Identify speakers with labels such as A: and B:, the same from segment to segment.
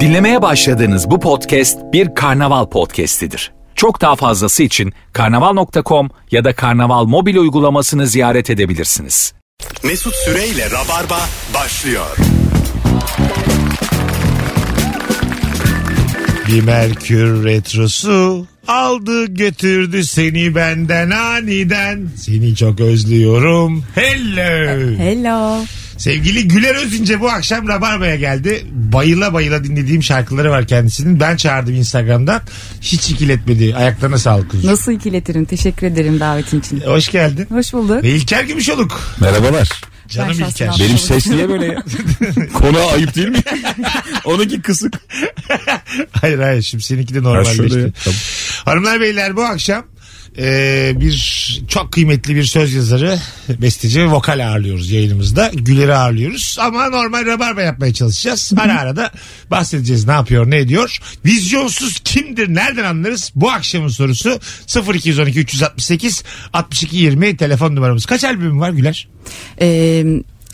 A: Dinlemeye başladığınız bu podcast bir karnaval podcastidir. Çok daha fazlası için karnaval.com ya da karnaval mobil uygulamasını ziyaret edebilirsiniz.
B: Mesut Süreyle Rabarba başlıyor.
C: Bir Merkür Retrosu aldı götürdü seni benden aniden. Seni çok özlüyorum. Hello.
D: Hello.
C: Sevgili Güler Özince bu akşam Rabarba'ya geldi. Bayıla bayıla dinlediğim şarkıları var kendisinin. Ben çağırdım Instagram'dan. Hiç ikiletmedi. Ayaklarına sağlık kuzucuğum.
D: Nasıl ikiletirim? Teşekkür ederim davetin için.
C: Hoş geldin.
D: Hoş bulduk.
C: Ve İlker Gümüşoluk.
E: Merhabalar.
C: Canım
D: şahsen
C: İlker.
D: aldım.
E: Benim ses niye böyle ya? Konağa ayıp değil mi? Onunki kısık.
C: Hayır hayır şimdi seninki de
E: Ha, şurada ya.
C: normalleşti.
E: Tamam.
C: Hanımlar beyler bu akşam e, bir çok kıymetli bir söz yazarı, besteci ve vokal ağırlıyoruz yayınımızda. Güler'i ağırlıyoruz ama normal rabarba yapmaya çalışacağız. Ara ara da bahsedeceğiz ne yapıyor ne ediyor. Vizyonsuz kimdir nereden anlarız? Bu akşamın sorusu 0212 368 62 20 telefon numaramız. Kaç albüm var Güler?
D: Ee,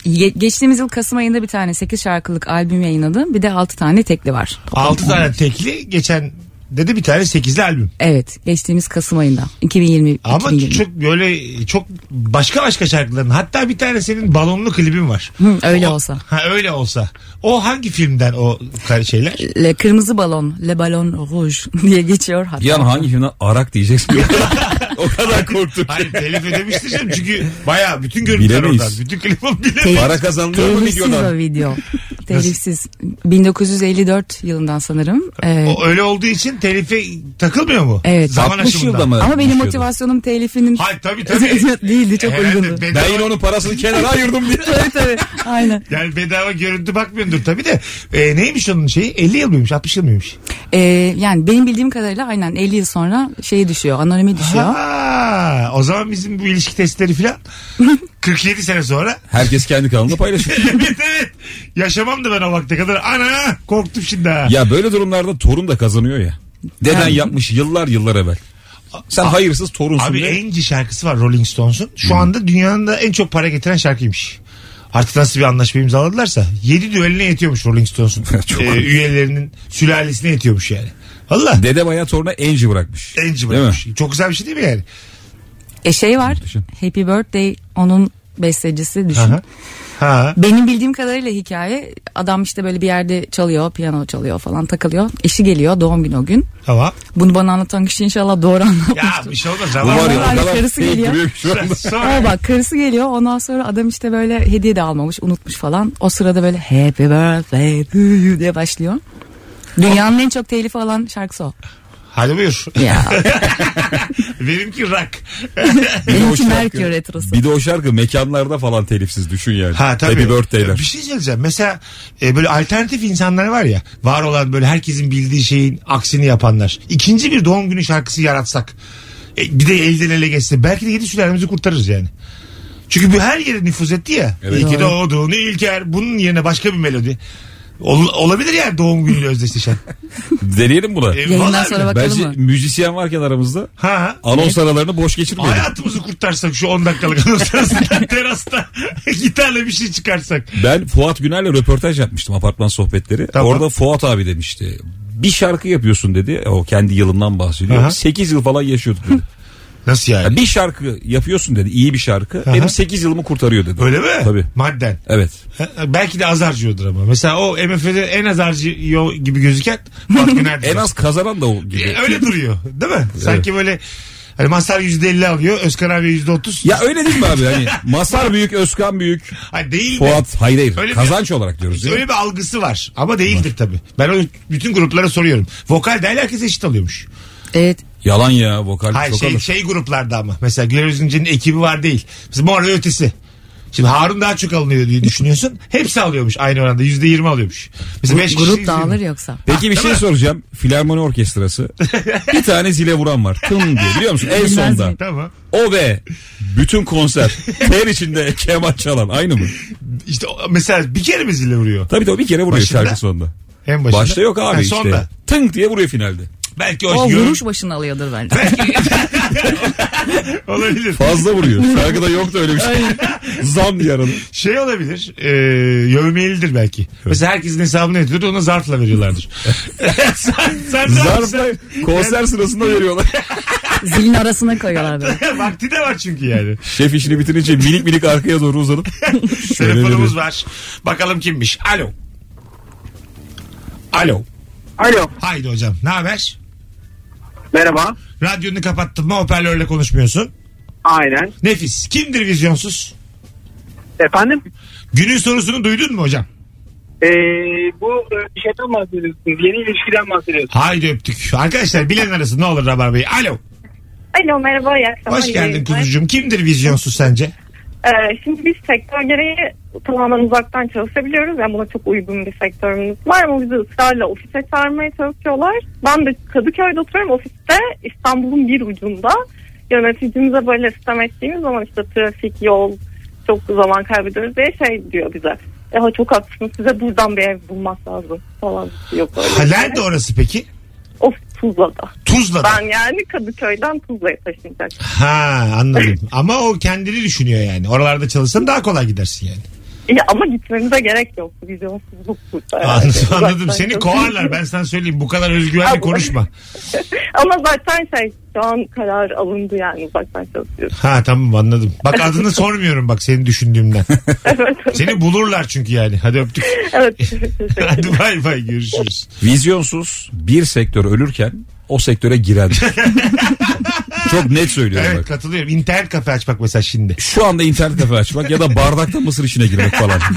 D: ye- geçtiğimiz yıl Kasım ayında bir tane 8 şarkılık albüm yayınladım. Bir de 6 tane tekli var.
C: 6 tane tekli geçen dedi bir tane 8'li albüm.
D: Evet. Geçtiğimiz Kasım ayında. 2020.
C: Ama
D: 2020.
C: çok böyle çok başka başka şarkıların hatta bir tane senin balonlu klibin var.
D: Hı, öyle
C: O-
D: olsa.
C: Ha öyle olsa. O hangi filmden o kar- şeyler?
D: Le, kırmızı balon. Le balon rouge diye geçiyor hatta.
E: Yan hangi filmden arak diyeceksin? o kadar korktum.
C: Hayır telif ödemiştir canım çünkü baya bütün görüntüler
E: Bilemeyiz.
C: oradan. Bütün klibim bile.
D: Telif-
E: Para kazanılıyor mu
D: Telifsiz o
E: videodan?
D: video. Telifsiz. 1954 yılından sanırım. Ee,
C: O öyle olduğu için telife takılmıyor mu?
D: Evet.
C: Zaman
E: 60
C: aşımında.
E: yılda mı?
D: ama benim
E: düşüyordu?
D: motivasyonum telifinin
C: Hayır tabii tabii.
D: değildi çok
C: Herhalde
D: uygundu.
C: bedava-
E: Ben yine onun parasını kenara ayırdım diye.
D: Tabii tabii. Aynen.
C: Yani bedava görüntü bakmıyordur tabii de. E, neymiş onun şeyi? 50 yıl mıymış 60 yıl mıymış?
D: Ee, yani benim bildiğim kadarıyla aynen 50 yıl sonra şeye düşüyor, anonime düşüyor.
C: Ha, o zaman bizim bu ilişki testleri filan 47 sene sonra
E: Herkes kendi kanalında paylaşıyor.
C: evet evet. Yaşamam da ben o vakte kadar. Ana korktum şimdi ha.
E: ya böyle durumlarda torun da kazanıyor ya. Deden
D: Yani-
E: yapmış yıllar yıllar evvel. Sen hayırsız torunsun.
C: Abi
E: diye.
C: Angie şarkısı var Rolling Stones'un. Şu
E: Hmm.
C: anda dünyanın da en çok para getiren şarkıymış. Artık nasıl bir anlaşma imzaladılarsa 7 düeline yetiyormuş Rolling Stones'un.
E: Çok
C: Ee,
E: komik.
C: üyelerinin sülalesine yetiyormuş yani. Valla
E: Dede bayağı toruna enci bırakmış.
C: Angie
E: Değil mi?
C: bırakmış. Çok güzel bir şey değil mi yani?
D: E şey var, Happy Birthday onun bestecisi düşün.
C: Aha. Ha.
D: Benim bildiğim kadarıyla hikaye adam işte böyle bir yerde çalıyor, piyano çalıyor falan takılıyor. Eşi geliyor doğum günü o gün.
C: Tamam.
D: Bunu bana anlatan kişi inşallah doğru
C: Ya
D: anlatmıştır.
C: bir şey olmaz.
E: Bu
C: Zaman
E: var ya
D: Vallahi
E: o kadar
D: karısı
E: fake
D: geliyor.
E: duruyor ki şu anda.
D: Ama
C: Sonra
D: bak karısı geliyor ondan sonra adam işte böyle hediye de almamış unutmuş falan. O sırada böyle happy birthday to you diye başlıyor. Dünyanın en çok telifi alan şarkısı o.
C: hadi buyur.
D: Ya.
C: Benimki rock.
D: Benimki
E: hoş
D: Merkür
E: şarkı.
D: retrosu.
E: Bir de o şarkı mekanlarda falan telifsiz düşün yani.
C: Ha tabii.
E: Happy birthday'ler.
C: Bir şey söyleyeceğim. Mesela e, böyle alternatif insanlar var ya. Var olan böyle herkesin bildiği şeyin aksini yapanlar. İkinci bir doğum günü şarkısı yaratsak. e, bir de elden ele geçse. Belki de yedi sülalemizi kurtarırız yani. Çünkü bu her yere nüfuz etti ya.
E: Evet.
C: İyi ki
D: Doğru.
C: doğdun İlker. Bunun yerine başka bir melodi. Ol- olabilir yani doğum günüyle özdeşleşen.
E: Deneyelim bunu.
C: E,
D: Yayından
C: vallahi-
D: sonra şey- bakalım
E: Bence
D: mı?
E: müzisyen varken aramızda
C: Ha.
E: anons aralarını boş geçirmeyelim.
C: Hayatımızı kurtarsak şu 10 dakikalık anons arasında terasta gitarla bir şey çıkarsak.
E: Ben Fuat Güner'le röportaj yapmıştım apartman sohbetleri.
C: Tamam.
E: Orada Fuat abi demişti. Bir şarkı yapıyorsun dedi. O kendi yılından bahsediyor.
C: Aha.
E: 8 yıl falan yaşıyorduk dedi.
C: Nasıl yani?
E: Ya bir şarkı yapıyorsun dedi. iyi bir şarkı. Benim 8 yılımı kurtarıyor dedi.
C: Öyle mi?
E: Tabii.
C: Madden.
E: Evet.
C: Ha, E, Belki de az harcıyordur ama. Mesela o MF'de en az harcıyor gibi gözüken Fuat Güner'dir.
E: En az kazanan da o gibi.
C: Öyle duruyor değil mi? Sanki böyle hani Mazhar %50 alıyor. Özkan abi %30.
E: Ya öyle değil mi abi? Hani Masar büyük, Özkan büyük,
C: Hayır, değil de.
E: Fuat hayır hayır.
C: Öyle bir-
E: Kazanç olarak diyoruz değil mi?
C: Öyle bir algısı var. Ama değildir tabii. Ben o bütün gruplara soruyorum. Vokal değil herkes eşit alıyormuş.
D: Evet.
E: Yalan ya vokal
C: Hayır
E: çok
C: şey,
E: alır.
C: şey gruplarda ama. Mesela Güler Üzüncü'nün ekibi var değil. Mesela Mor ve Ötesi. Şimdi Harun daha çok alınıyor diye düşünüyorsun. Hepsi alıyormuş aynı oranda. %20 alıyormuş. Mesela beş kişi
D: Grup
C: %20.
D: dağılır yoksa.
E: Peki bir şey soracağım. Filarmoni orkestrası. bir tane zile vuran var. Tım diye biliyor musun? En
D: Bilmez
E: sonda.
D: miyim?
C: Tamam.
E: O ve bütün konser ter içinde keman çalan aynı mı?
C: İşte o- mesela bir kere mi zile vuruyor?
E: Tabii de o bir kere vuruyor
C: Başında.
E: şarkı sonunda.
C: En başında.
E: Başta yok abi
C: Ha,
E: işte.
C: sonda.
E: Tınk diye vuruyor finalde.
C: Belki
D: O
C: o
D: vuruş başını alıyordur bence.
C: olabilir.
E: Fazla vuruyor. Şarkıda yoktu öyle bir şey. Zam diye aradım.
C: Şey olabilir. E, yövmiyelidir belki. Mesela herkesin hesabını ödüyordur. Ona zarfla veriyorlardır. sen, sen ne
E: Zarfla
C: yapıyorsun?
E: konser sırasında veriyorlar.
D: Zilin arasına koyuyorlar böyle.
C: Vakti de var çünkü yani.
E: Şef işini bitirince minik minik arkaya doğru uzanıp. Şöyle
C: Telefonumuz
E: veriyor.
C: var. Bakalım kimmiş. Alo. Alo.
F: Alo.
C: Haydi hocam. Ne haber?
F: Merhaba.
C: Radyonu kapattın mı? Hoparlörle konuşmuyorsun.
F: Aynen.
C: Nefis. Kimdir vizyonsuz?
F: Efendim?
C: Günün sorusunu duydun mu hocam?
F: Ee, bu e, bir şeyden bahsediyorsunuz. Yeni ilişkiden bahsediyorsunuz.
C: Haydi öptük. Arkadaşlar bilen arasın ne olur Rabar Bey. Alo.
G: Alo merhaba iyi akşamlar.
C: Hoş
G: iyi
C: geldin
G: yayınlar.
C: kuzucuğum. Kimdir vizyonsuz sence?
G: Ee, şimdi biz sektör gereği tamamen uzaktan çalışabiliyoruz. Yani buna çok uygun bir sektörümüz var ama bizi ısrarla ofise çağırmaya çalışıyorlar. Ben de Kadıköy'de oturuyorum ofiste İstanbul'un bir ucunda. Yöneticimize böyle sistem ettiğimiz zaman işte trafik, yol çok zaman kaybediyoruz diye şey diyor bize. Ya çok haklısınız size buradan bir ev bulmak lazım falan yok öyle. bir
C: Ha,
G: şey.
C: nerede orası peki?
G: Of Tuzla'da.
C: Tuzla'da.
G: Ben yani Kadıköy'den Tuzla'ya taşınacak.
C: Ha anladım. Ama o kendini düşünüyor yani. Oralarda çalışsan daha kolay gidersin yani.
G: Ya ama gitmemize gerek yok. Vizyonsuzluk burada.
C: Anladım,
G: Yani.
C: anladım.
G: Zaten
C: Seni
G: çok-
C: kovarlar ben sana söyleyeyim. Bu kadar özgüvenli
G: Abi.
C: konuşma.
G: Ama zaten şey şu an karar alındı yani uzaktan çalışıyoruz.
C: Ha tamam anladım. Bak adını sormuyorum bak seni düşündüğümden. Seni bulurlar çünkü yani. Hadi öptük.
G: Evet. teşekkür ederim.
C: Hadi bay bay görüşürüz.
E: Vizyonsuz bir sektör ölürken o sektöre giren. Çok net söylüyorum
C: Evet
E: bak.
C: katılıyorum. İnternet kafe açmak mesela şimdi.
E: Şu anda internet kafe açmak ya da bardakta mısır işine girmek falan.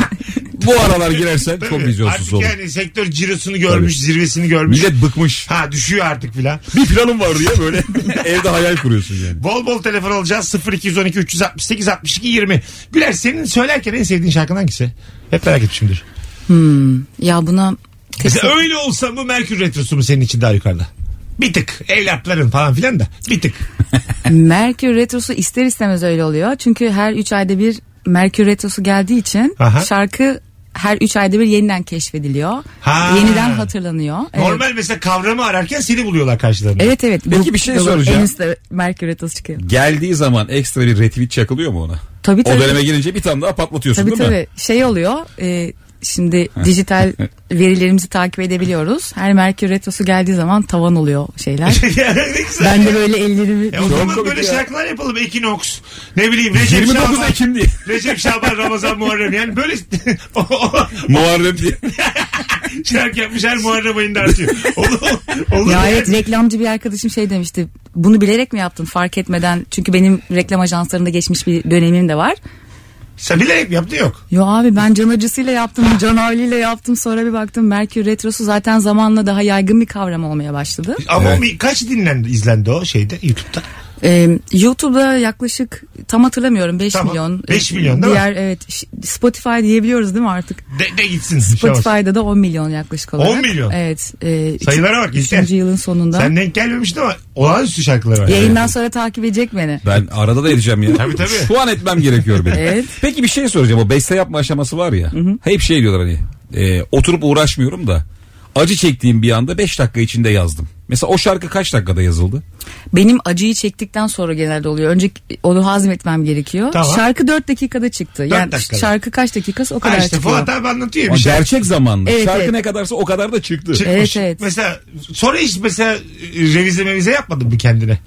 E: Bu aralar girersen çok
C: Tabii.
E: vizyonsuz olur.
C: Artık yani sektör cirosunu görmüş, zirvesini görmüş.
E: Millet bıkmış.
C: Ha düşüyor artık filan.
E: Bir planım var diye böyle evde hayal kuruyorsun yani.
C: Bol bol telefon alacağız. 0212 368 62 20. Güler senin söylerken en sevdiğin şarkın hangisi? Hep merak etmişimdir.
D: Ya buna
C: Mesela öyle olsa mı Merkür Retrosu mu senin için daha yukarıda? Bir tık. Evlatların falan filan da. Bir tık.
D: Merkür Retrosu ister istemez öyle oluyor. Çünkü her 3 ayda bir Merkür Retrosu geldiği için
C: Aha.
D: şarkı her 3 ayda bir yeniden keşfediliyor.
C: Ha.
D: Yeniden hatırlanıyor. Evet.
C: Normal mesela kavramı ararken seni buluyorlar karşılarında.
D: Evet evet.
E: Peki bir şey soracağım.
D: En üstte Merkür Retrosu çıkıyor.
E: Geldiği zaman ekstra bir retweet çakılıyor mu ona?
D: Tabii
E: O
D: tabii.
E: döneme girince bir tane daha patlatıyorsun
D: Tabii
E: değil
D: tabii.
E: mi?
D: Şey oluyor. e, şimdi dijital verilerimizi takip edebiliyoruz. Her Merkür Retrosu geldiği zaman tavan oluyor şeyler.
C: ne güzel.
D: ben de böyle ellerimi...
C: E o zaman
E: komik
C: böyle
E: ya.
C: şarkılar yapalım. Ekinox. Ne bileyim Recep
E: 29
C: Şaban.
E: Ekim diye.
C: Recep Şaban, Ramazan, Muharrem. Yani böyle o- o-
E: Muharrem diye.
C: şarkı yapmış her Muharrem ayında artıyor. Olur, olur.
D: Ya evet reklamcı bir arkadaşım şey demişti. Bunu bilerek mi yaptın fark etmeden? Çünkü benim reklam ajanslarında geçmiş bir dönemim de var.
C: Sen bilerek mi yaptın yok.
D: Yo abi ben can acısıyla yaptım, can havliyle yaptım. Sonra bir baktım Merkür Retrosu zaten zamanla daha yaygın bir kavram olmaya başladı.
C: Ama
E: Evet.
C: o mi- kaç dinlendi izlendi o şeyde YouTube'da?
D: Ee, YouTube'da yaklaşık tam hatırlamıyorum 5
C: Tamam.
D: milyon.
C: Beş
D: Ee,
C: milyon değil
D: diğer, Evet ş- Spotify diyebiliyoruz değil mi artık?
C: De, de gitsin. Şey
D: Spotify'da da 10 milyon yaklaşık olarak.
C: 10 milyon?
D: Evet. E,
C: Sayılara bak,
D: Üçüncü
C: İlker.
D: yılın sonunda.
C: olsun. Sen denk gelmemiştin ama olağanüstü şarkılar var.
D: Yayından sonra takip edecek beni.
E: Ben arada da edeceğim ya.
C: Tabii, tabii.
E: Şu an etmem gerekiyor benim.
D: Evet.
E: Peki bir şey soracağım. O beste yapma aşaması var ya. Hep şey diyorlar hani. e, oturup uğraşmıyorum da. Acı çektiğim bir anda 5 dakika içinde yazdım. Mesela o şarkı kaç dakikada yazıldı?
D: Benim acıyı çektikten sonra genelde oluyor. Önce onu hazmetmem gerekiyor.
C: Tamam.
D: Şarkı 4 dakikada çıktı. Yani
C: dakikada.
D: şarkı kaç dakikası o
C: Ha
D: kadar
C: işte
D: çıkıyor.
C: Fuat abi anlatıyor
E: O
C: bir şey.
E: gerçek zamanlı.
D: Evet,
E: şarkı
D: evet.
E: ne kadarsa o kadar da çıktı.
C: Çıkmış.
D: Evet, evet.
C: Mesela sonra hiç mesela e, revize mevize yapmadın mı kendine?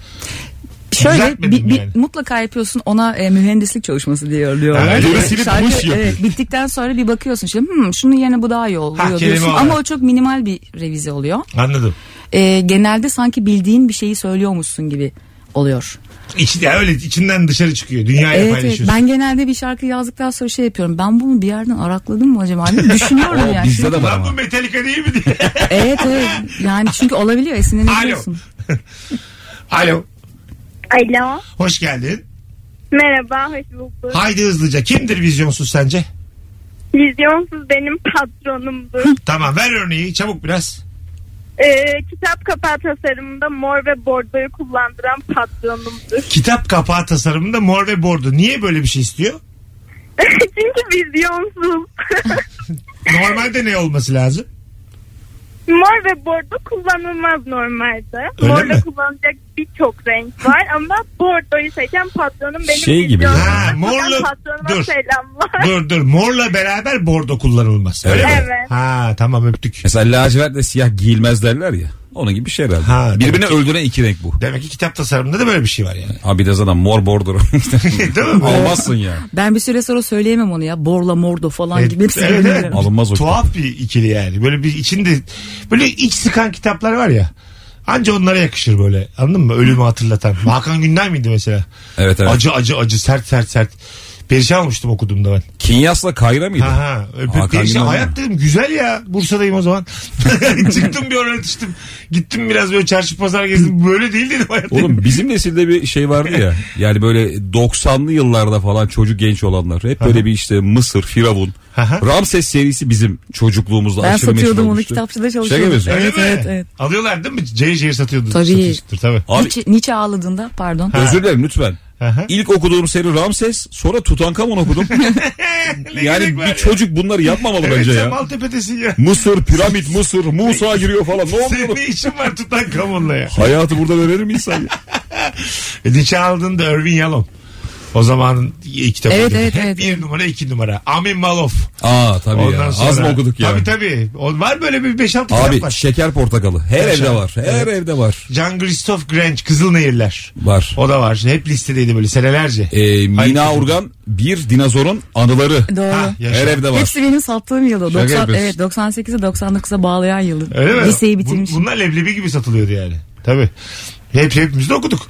D: Şöyle
C: Düzeltmedim
D: bir- bir-
C: yani.
D: mutlaka yapıyorsun ona e, mühendislik çalışması diyor diyorlar.
C: Ha,
E: böyle silip
D: Şarkı,
E: buluş yapıyor.
D: evet, bittikten sonra bir bakıyorsun şimdi "Hmm, şunun yerine bu daha iyi
C: Ha,
D: oluyor
C: kelime
D: diyorsun.
C: olarak.
D: Ama o çok minimal bir revize oluyor.
C: Anladım.
D: E, genelde sanki bildiğin bir şeyi söylüyormuşsun gibi oluyor.
C: İç, ya öyle içinden dışarı çıkıyor. Dünyaya
D: Evet, evet.
C: paylaşıyorsun.
D: ben genelde bir şarkı yazdıktan sonra şey yapıyorum. Ben bunu bir yerden arakladım mı acaba? diye Düşünüyorum
E: O
D: yani.
E: bizde de var
C: Lan bu
E: ama.
C: Metallica değil mi diye.
D: Evet evet. Yani çünkü olabiliyor
C: Alo.
D: esinlenebiliyorsun.
C: Alo.
G: Alo.
C: Hoş geldin.
G: Merhaba hoş bulduk.
C: Haydi hızlıca. Kimdir vizyonsuz sence?
G: Vizyonsuz benim patronumdur.
C: Tamam ver örneği çabuk biraz.
G: Ee, kitap kapağı tasarımında mor ve bordoyu kullandıran patronumdur.
C: Kitap kapağı tasarımında mor ve bordo. Niye böyle bir şey istiyor?
G: Çünkü vizyonsuz.
C: Normalde ne olması lazım?
G: Mor ve bordo kullanılmaz normalde.
C: Öyle
G: Bordo
C: mi?
G: kullanacak birçok renk var ama bordoyu seçen patronum benim
E: Şey gibi ya.
G: videomda
C: Ha,
G: zaten
C: morla-
G: patronuma
C: dur.
G: selamlar.
C: dur dur morla beraber bordo kullanılmaz. Öyle
E: Evet.
C: mi?
G: Evet.
C: Ha tamam öptük.
E: Mesela lacivertle siyah giyilmez derler ya. Onun gibi bir şey herhalde.
C: Ha,
E: Birbirini öldüren iki renk bu.
C: Demek ki kitap tasarımında da böyle bir şey var yani.
E: Abi de zaten mor bordro.
C: Değil mi?
E: Almazsın ya.
D: Ben bir süre sonra söyleyemem onu ya. Borla mordo falan
C: Evet,
D: gibi. şey Hepsi
C: evet,
D: birbirine.
C: evet.
E: Alınmaz o
C: Tuhaf bir ikili yani. Böyle bir içinde böyle iç sıkan kitaplar var ya. Anca onlara yakışır böyle. Anladın mı? Ölümü hatırlatan. Hakan Günday mıydı mesela?
E: Evet evet.
C: Acı acı acı sert sert sert. Perişan olmuştum okuduğumda ben.
E: Kinyasla kayra mıydı?
C: Ha ha. Öyle pe-
E: Hakan
C: perişan.
E: Günday
C: Hayat
E: mi?
C: dedim güzel ya. Bursa'dayım o zaman. Çıktım bir oraya yetiştim. Gittim biraz böyle çarşı pazar gezdim. Böyle değil dedim hayat.
E: Oğlum bizim nesilde bir şey vardı ya. Yani böyle 90'lı yıllarda falan çocuk genç olanlar. Hep böyle bir işte Mısır, Firavun.
C: Aha.
E: Ramses serisi bizim çocukluğumuzda
D: Ben
E: aşırı meşhur
D: satıyordum onu
E: olmuştu.
D: kitapçıda
E: Şaka
D: çalışıyordum.
E: yapıyorsun.
C: Öyle
D: Evet,
C: mi?
D: evet, evet.
C: Alıyorlar değil mi? Cehir cehir satıyordu.
D: Tabii.
C: Satıyordur, tabii.
E: Abi-
D: Nietzsche, Nietzsche ağladığında pardon.
E: Özür dilerim lütfen.
C: Aha.
E: İlk okuduğum seri Ramses sonra Tutankamon okudum.
C: Ne gerek
E: yani
C: var
E: bir
C: ya?
E: çocuk bunları yapmamalı
C: Evet,
E: bence
C: sen
E: ya.
C: Maltepe'desin ya.
E: Mısır, piramit, Mısır, Musa giriyor falan. Ne
C: Senin
E: oluyor?
C: ne işin var Tutankamon'la ya?
E: Hayatı burada verir mi insan ya?
C: E, Nietzsche aldığında Irving Yalom. O zamanın iyi kitabı.
D: Evet, evet,
C: Hep
D: evet.
C: bir numara iki numara. Amin Malof.
E: Aa tabii
C: Ondan
E: ya.
C: sonra.
E: Az mı okuduk ya?
C: Tabii tabii. O- Var böyle bir 5-6 kitap
E: Abi şey-
C: var.
E: şeker portakalı. Her şey.
C: Evet,
E: evde
C: abi.
E: var. Her evde var.
C: Jean Christophe Grange Kızılnehirler.
E: Var.
C: O da var. Hep listedeydi böyle senelerce.
E: Ee, Mina
C: Hayır.
E: Urgan bir dinozorun anıları.
D: Doğru.
C: Ha, yaşa.
E: Her evde var.
D: Hepsi benim sattığım yılda.
E: Şaka
D: 90,
E: yapıyorsun.
D: evet 98'e 99'a bağlayan yılı.
C: Öyle mi?
D: Liseyi bitirmiş.
C: Bun- bunlar leblebi gibi satılıyordu yani. Tabii. Hep hepimiz de okuduk.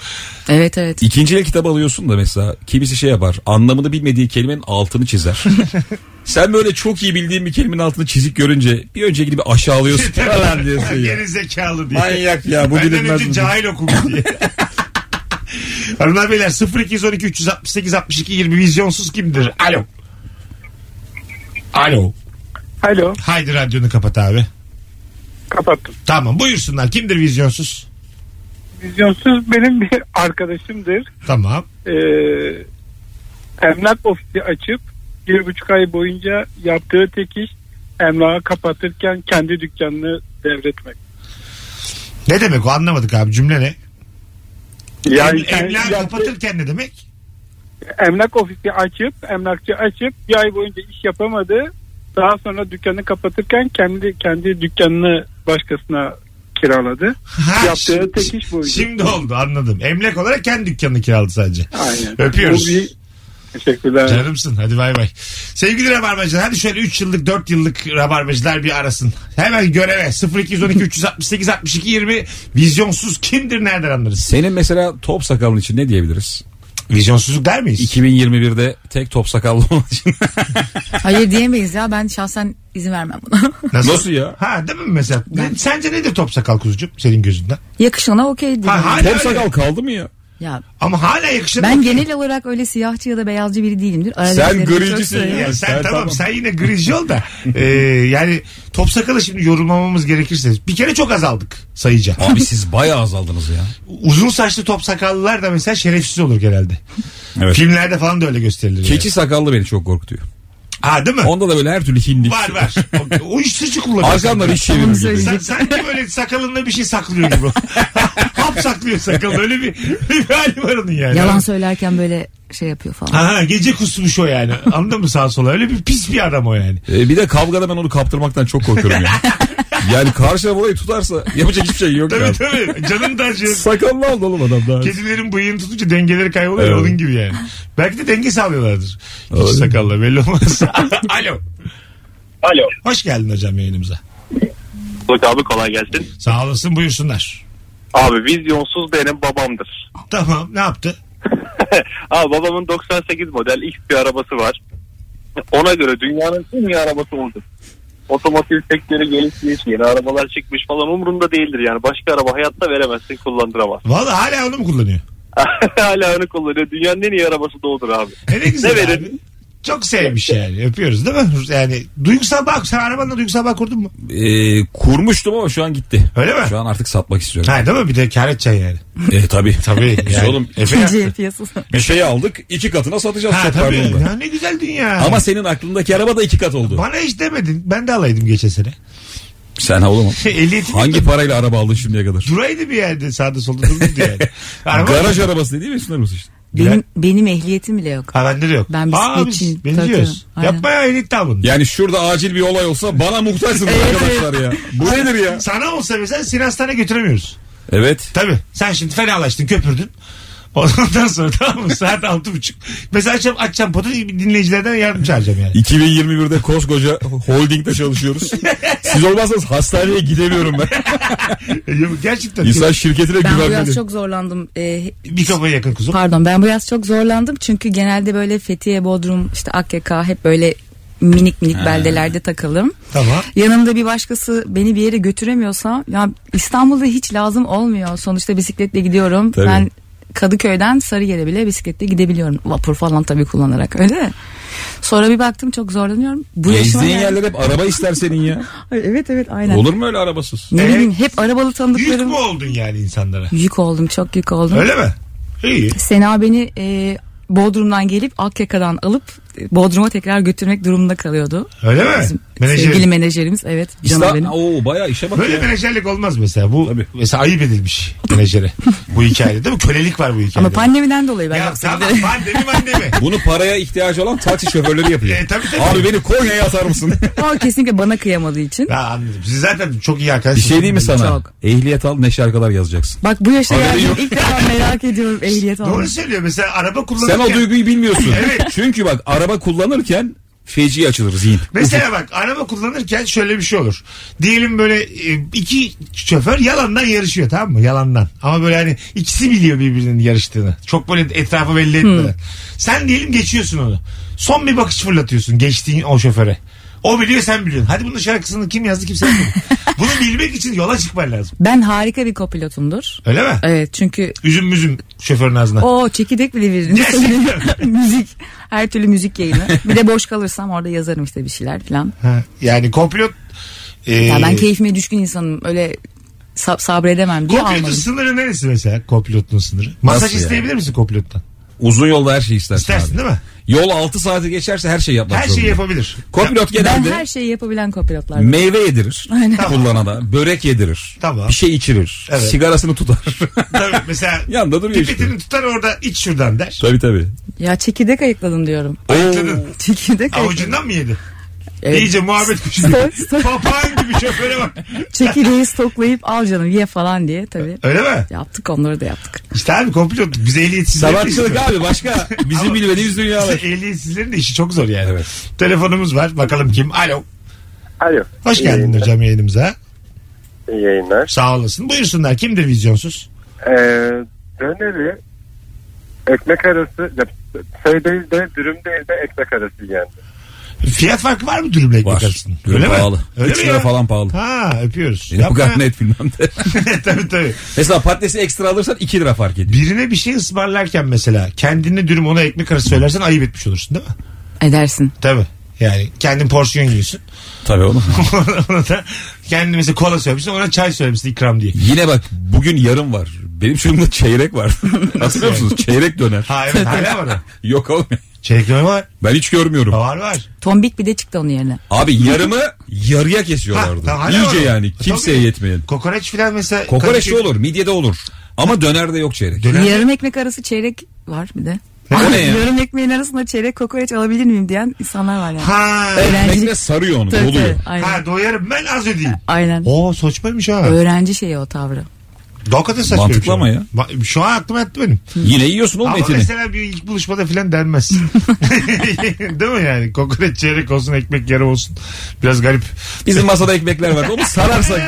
D: Evet evet.
E: İkinci el kitap alıyorsun da mesela kimisi şey yapar anlamını bilmediği kelimenin altını çizer. Sen böyle çok iyi bildiğin bir kelimenin altını çizik görünce bir önceki gibi aşağılıyorsun falan diyorsun ya.
C: Geri zekalı diye.
E: Manyak ya bu
C: Benden
E: bilinmez
C: önce
E: mi?
C: cahil okumuş diye. Hanımlar beyler 0212 368 62 20 vizyonsuz kimdir? Alo. Alo.
F: Alo
C: Haydi radyonu kapat abi.
F: kapattım.
C: Tamam buyursunlar. Kimdir vizyonsuz?
F: Vizyonsuz benim bir arkadaşımdır.
C: Tamam.
F: Ee, emlak ofisi açıp bir buçuk ay boyunca yaptığı tek iş emlakı kapatırken kendi dükkanını devretmek.
C: Ne demek o anlamadık abi cümle ne? Yani,
F: sen- yaptı-
C: kapatırken ne demek?
F: emlak ofisi açıp emlakçı açıp bir ay boyunca iş yapamadı. Daha sonra dükkanı kapatırken kendi kendi dükkanını başkasına kiraladı.
C: Ha,
F: Yaptığı
C: şi-
F: tek iş buydu.
C: Şimdi oldu anladım. Emlak olarak kendi dükkanını kiraladı sadece.
F: Aynen.
C: Öpüyoruz.
F: Bu bir- Teşekkürler.
C: Canımsın hadi bay bay. Sevgili Rabarbacılar hadi şöyle 3 yıllık 4 yıllık Rabarbacılar bir arasın. Hemen göreve 0212 368 62 20 vizyonsuz kimdir nereden anlarız?
E: Senin mesela top sakalın için ne diyebiliriz?
C: Vizyonsuzluk der miyiz?
E: 2021'de tek top sakallı olan için.
D: Hayır diyemeyiz ya ben şahsen izin vermem buna.
E: Nasıl ya?
C: Ha değil mi mesela? Ne- sence nedir top sakal kuzucuğum senin gözünden?
D: Yakışana okey diyorum.
C: Ha, hala
E: top
C: öyle.
E: sakal kaldı mı ya?
D: Ya
C: Ama hala yakışır.
D: ben genel olarak öyle siyahçı ya da beyazcı biri değilimdir. Aradakileri çok şey
E: gricisin
D: severim.
E: ya.
C: Ya sen,
E: Sen
C: tamam,
E: tamam.
C: sen yine griz ol da Ee, yani top sakalı şimdi yorumlamamız gerekirse bir kere çok azaldık sayıca.
E: Abi siz bayağı azaldınız ya.
C: Uzun saçlı top sakallılar da mesela şerefsiz olur genelde.
E: Evet.
C: Filmlerde falan da öyle gösterilir. yani.
E: Keçi sakallı beni çok korkutuyor.
C: Ha değil mi?
E: Onda da böyle her türlü hindik.
C: Var var. O- O uyuşturucu kullanıyor.
E: Arkamdan iş
D: Onu
E: çevirir gibi.
D: söyleyeyim.
C: Sen, sanki böyle sakalında bir şey saklıyor gibi. Hap saklıyor sakalında. Öyle bir, bir hali var onun yani.
D: Yalan söylerken böyle şey yapıyor falan.
C: Aha gece kusmuş o yani. Anladın mı sağa sola? Öyle bir pis bir adam o yani.
E: Ee, bir de kavgada ben onu kaptırmaktan çok korkuyorum ya. yani karşı taraf orayı tutarsa yapacak hiçbir şey yok.
C: Tabii
E: ya.
C: tabii. Canım da acıyor.
E: Sakallı aldı oğlum adam daha.
C: Kedilerin bıyığını tutunca dengeleri kayboluyor.
E: Evet.
C: Onun gibi yani. Belki de denge sağlıyorlardır. Hiç
E: Olabilir.
C: sakalla belli olmaz. Alo.
H: Alo.
C: Hoş geldin hocam yayınımıza.
H: Bulut abi kolay gelsin.
C: Sağ olasın buyursunlar.
H: Abi vizyonsuz benim babamdır.
C: Tamam ne yaptı?
H: abi babamın 98 model X bir arabası var. Ona göre dünyanın en iyi arabası oldu. Otomotiv sektörü gelişmiş, yeni arabalar çıkmış falan umurunda değildir yani. Başka araba hayatta veremezsin, kullandıramaz.
C: Vallahi hala onu mu kullanıyor?
H: Hala onu kullanıyor. Dünyanın en iyi arabası da odur abi.
C: E ne güzel
H: Ne
C: abi.
H: verin?
C: Çok sevmiş yani. Öpüyoruz değil mi? Yani duygusal bağ. Sen arabanla duygusal bağ kurdun mu?
E: Ee, kurmuştum ama şu an gitti.
C: Öyle mi?
E: Şu an artık satmak istiyorum.
C: Ha değil mi? Bir de kar edeceksin yani.
E: e tabii.
C: Tabii.
E: Biz
C: yani.
E: oğlum
C: Efe
D: İkinci el
C: yaptı.
D: piyasası.
E: bir şey aldık iki katına satacağız
C: Ha
E: çok
C: tabii.
E: pardon da.
C: Ya, ne güzel dünya.
E: Ama senin aklındaki araba da iki kat oldu.
C: bana hiç demedin. Ben de alaydım geçen sene.
E: Sen havlu mu?
C: Ehliyeti
E: Hangi parayla araba aldın şimdiye kadar?
C: Duraydı bir yerde sağda solda durmuyordu yani. Araba-
E: Garaj arabası dediği mi sunar mısın işte?
D: Benim, benim ehliyetim bile yok.
C: Ha bende de yok.
D: Ben
C: Aa, biz
D: bisikletçiyim.
C: benziyoruz.
D: Tabii, tabii. Aynen.
C: Yapma ya ehliyet de alın.
E: Yani şurada acil bir olay olsa bana muhtaçsınız arkadaşlar ya. Bu nedir ya?
C: Sana olsa mesela seni hastaneye götüremiyoruz.
E: Evet.
C: Tabii. Sen şimdi fenalaştın köpürdün. Ondan sonra tamam mı? Saat altı buçuk. Mesela açacağım, açacağım potu dinleyicilerden yardım çağıracağım yani.
E: 2021'de koskoca holdingde çalışıyoruz. Siz olmazsanız hastaneye gidemiyorum ben.
C: Yok, Gerçekten.
E: İnsan şirketine
D: Ben bu yaz
E: güvenmeli.
D: çok zorlandım. Ee,
C: Bir kafaya yakın kuzum.
D: Pardon ben bu yaz çok zorlandım çünkü genelde böyle Fethiye, Bodrum, işte Akyaka hep böyle minik minik beldelerde takıldım.
C: Tamam.
D: Yanımda bir başkası beni bir yere götüremiyorsa ya İstanbul'da hiç lazım olmuyor. Sonuçta bisikletle gidiyorum.
E: Tabii.
D: Ben Kadıköy'den Sarıyer'e bile bisikletle gidebiliyorum. Vapur falan tabii kullanarak öyle. de. Sonra bir baktım çok zorlanıyorum. Bu yaşıma
E: Gezdiğin
D: geldim.
E: yerler hep araba ister senin ya.
D: Ay, Evet evet aynen.
E: Olur mu öyle arabasız?
D: Ne
C: Evet.
D: bileyim hep arabalı
C: Yük
D: tanıdıklarım.
C: mü oldun yani insanlara?
D: Yük oldum çok yük oldum.
C: Öyle mi? İyi.
D: Sena beni e, Bodrum'dan gelip Akyaka'dan alıp e, Bodrum'a tekrar götürmek durumunda kalıyordu.
C: Öyle mi?
D: Bizim
C: Menajer.
D: Sevgili menajerimiz evet. Canım
E: İsta-
D: benim.
E: Oo bayağı işe bak
C: Böyle
E: ya.
C: menajerlik olmaz mesela. Bu mesela ayıp edilmiş menajere. bu hikayede değil mi? Kölelik var bu hikayede.
D: Ama pandemiden dolayı ben
C: Ya
D: yapsam
C: tamam
D: dedim.
C: pandemi pandemi.
E: Bunu paraya ihtiyacı olan taksi şoförleri yapıyor.
C: E, tabii, tabii.
E: Abi beni Konya'ya atar mısın?
D: O kesinlikle bana kıyamadığı için.
C: Ya anladım. Siz zaten çok iyi
E: Bir
C: arkadaşsınız.
E: şey diyeyim mi sana?
D: Çok.
E: Ehliyet al ne şarkılar yazacaksın.
D: Bak bu yaşa
E: Haberi
D: geldim
E: yok.
D: ilk defa merak ediyorum ehliyet
C: Doğru
D: almayı.
C: söylüyor. Mesela araba
E: Sen
C: kullanırken.
E: o duyguyu bilmiyorsun.
C: Evet.
E: Çünkü bak araba kullanırken feci açılır zihin.
C: Mesela bak araba kullanırken şöyle bir şey olur. Diyelim böyle e, iki şoför yalandan yarışıyor tamam mı? Yalandan. Ama böyle hani ikisi biliyor birbirinin yarıştığını. Çok böyle etrafı belli
D: Hmm.
C: etmeden. Sen diyelim geçiyorsun onu. Son bir bakış fırlatıyorsun geçtiğin o şoföre. O biliyor sen biliyorsun. Hadi bunun şarkısını kim yazdı kimse bilmiyor. Bunu bilmek için yola çıkman lazım.
D: Ben harika bir kopilotumdur.
C: Öyle mi?
D: Evet çünkü
C: Üzüm müzüm şoförün ağzına.
D: o çekirdek bile
C: Gerçekten.
D: bir müzik her türlü müzik yayını. Bir de boş kalırsam orada yazarım işte bir şeyler falan.
C: Ha, yani kopilot e,
D: Ya ben keyfime düşkün insanım. Öyle sab- sabredemem diye
C: Kopilotun
D: almadım.
C: sınırı neresi mesela? Kopilotun sınırı. Masaj
E: Nasıl yani?
C: isteyebilir misin kopilottan?
E: Uzun yolda her şey istersin,
C: İstersin
E: abi.
C: değil mi?
E: Yol 6 saati geçerse her şeyi yapmak
C: Her
E: zorunda.
C: şeyi yapabilir.
E: Kopilot
D: Ben
E: genelde
D: her şeyi yapabilen kopilotlar.
E: meyve yedirir
D: Aynen.
E: kullanana, börek yedirir,
C: Tamam.
E: bir şey içirir,
C: Evet.
E: sigarasını tutar.
C: Tabii mesela
E: Yanında duruyor işte.
C: pipetini tutar orada iç şuradan der.
E: tabii tabii.
D: Ya çekirdek ayıkladım diyorum.
C: Ayıkladın.
D: Çekirdek ayıkladım.
C: Avucundan mı yedi?
D: Evet.
C: İyice muhabbet kuşu.
D: Stok, stok.
C: Papağan gibi şoföre bak.
D: Çekirdeği stoklayıp al canım ye falan diye tabii.
C: Öyle mi?
D: Yaptık onları da yaptık.
C: İşte abi komplo bize ehliyetsiz.
E: Sanatçılık abi başka bizim bilmediğimiz dünyalar.
C: Ehliyetsizlerin de işi çok zor yani.
E: Evet.
C: Telefonumuz var. Bakalım kim? Alo.
H: Alo.
C: Hoş
H: İyi
C: geldin
H: yayınlar.
C: hocam yayınımıza.
H: İyi yayınlar.
C: Sağ olasın. Buyursunlar. Kimdir vizyonsuz?
H: Ee, döneri ekmek arası ya, şey değil de dürüm değil de ekmek arası yani.
C: Fiyat farkı var mı dürümle ekmek
E: Var.
C: arasının?
E: Dürüm pahalı.
C: Öyle
E: Üç
C: mi
E: lira
C: ya?
E: falan pahalı.
C: Ha öpüyoruz.
E: Benim bu
C: Yapma.
E: kadar net bilmem de.
C: tabii tabii.
E: Mesela patatesi ekstra alırsan 2 lira fark ediyor.
C: Birine bir şey ısmarlarken mesela kendine dürüm ona ekmek arası söylersen ayıp etmiş olursun değil mi?
D: Edersin.
C: Tabii. Yani kendin porsiyon yiyorsun.
E: Tabii oğlum.
C: ona da kendin mesela kola söylemişsin ona çay söylemişsin ikram diye.
E: Yine bak bugün yarım var. Benim şunumda çeyrek var. Hatırlıyor musunuz? Çeyrek döner.
C: Ha evet hala var. o.
E: Yok oğlum.
C: Çeyrek döner var.
E: Ben hiç görmüyorum.
C: Var var.
D: Tombik bir de çıktı onun yerine.
E: Abi yarımı yarıya
C: Ha,
E: kesiyorlardı.
C: tamam, hala
E: İyice
C: var. E,
E: yani kimseye
C: Tabii.
E: yetmeyen.
C: Kokoreç filan mesela.
E: Kokoreç de
C: Kadıköy-
E: olur, midye de olur. Ama dönerde yok çeyrek.
C: Döner-
D: Yarım ekmek arası çeyrek var bir de.
E: O ne ya?
D: Yarım ekmeğin arasında çeyrek kokoreç alabilir miyim diyen insanlar var yani.
C: Ha.
E: Ekmekle
D: Öğrencilik.
E: sarıyor onu,
D: Tabii,
E: doluyor.
D: tabii, Aynen.
C: Ha doyarım ben az ödeyeyim.
D: Aynen.
C: Oo saçmaymış ha.
D: Öğrenci şeyi o tavrı.
C: Dokada saçmaymış.
E: Mantıklı ama ya.
C: şey. Ba- Şu an aklıma yattı benim.
E: Yine yiyorsun oğlum
C: Ama
E: etini.
C: mesela bir ilk buluşmada filan denmez. Değil mi yani? Kokoreç çeyrek olsun ekmek yarı olsun. Biraz garip.
E: Bizim masada ekmekler var. Onu sararsak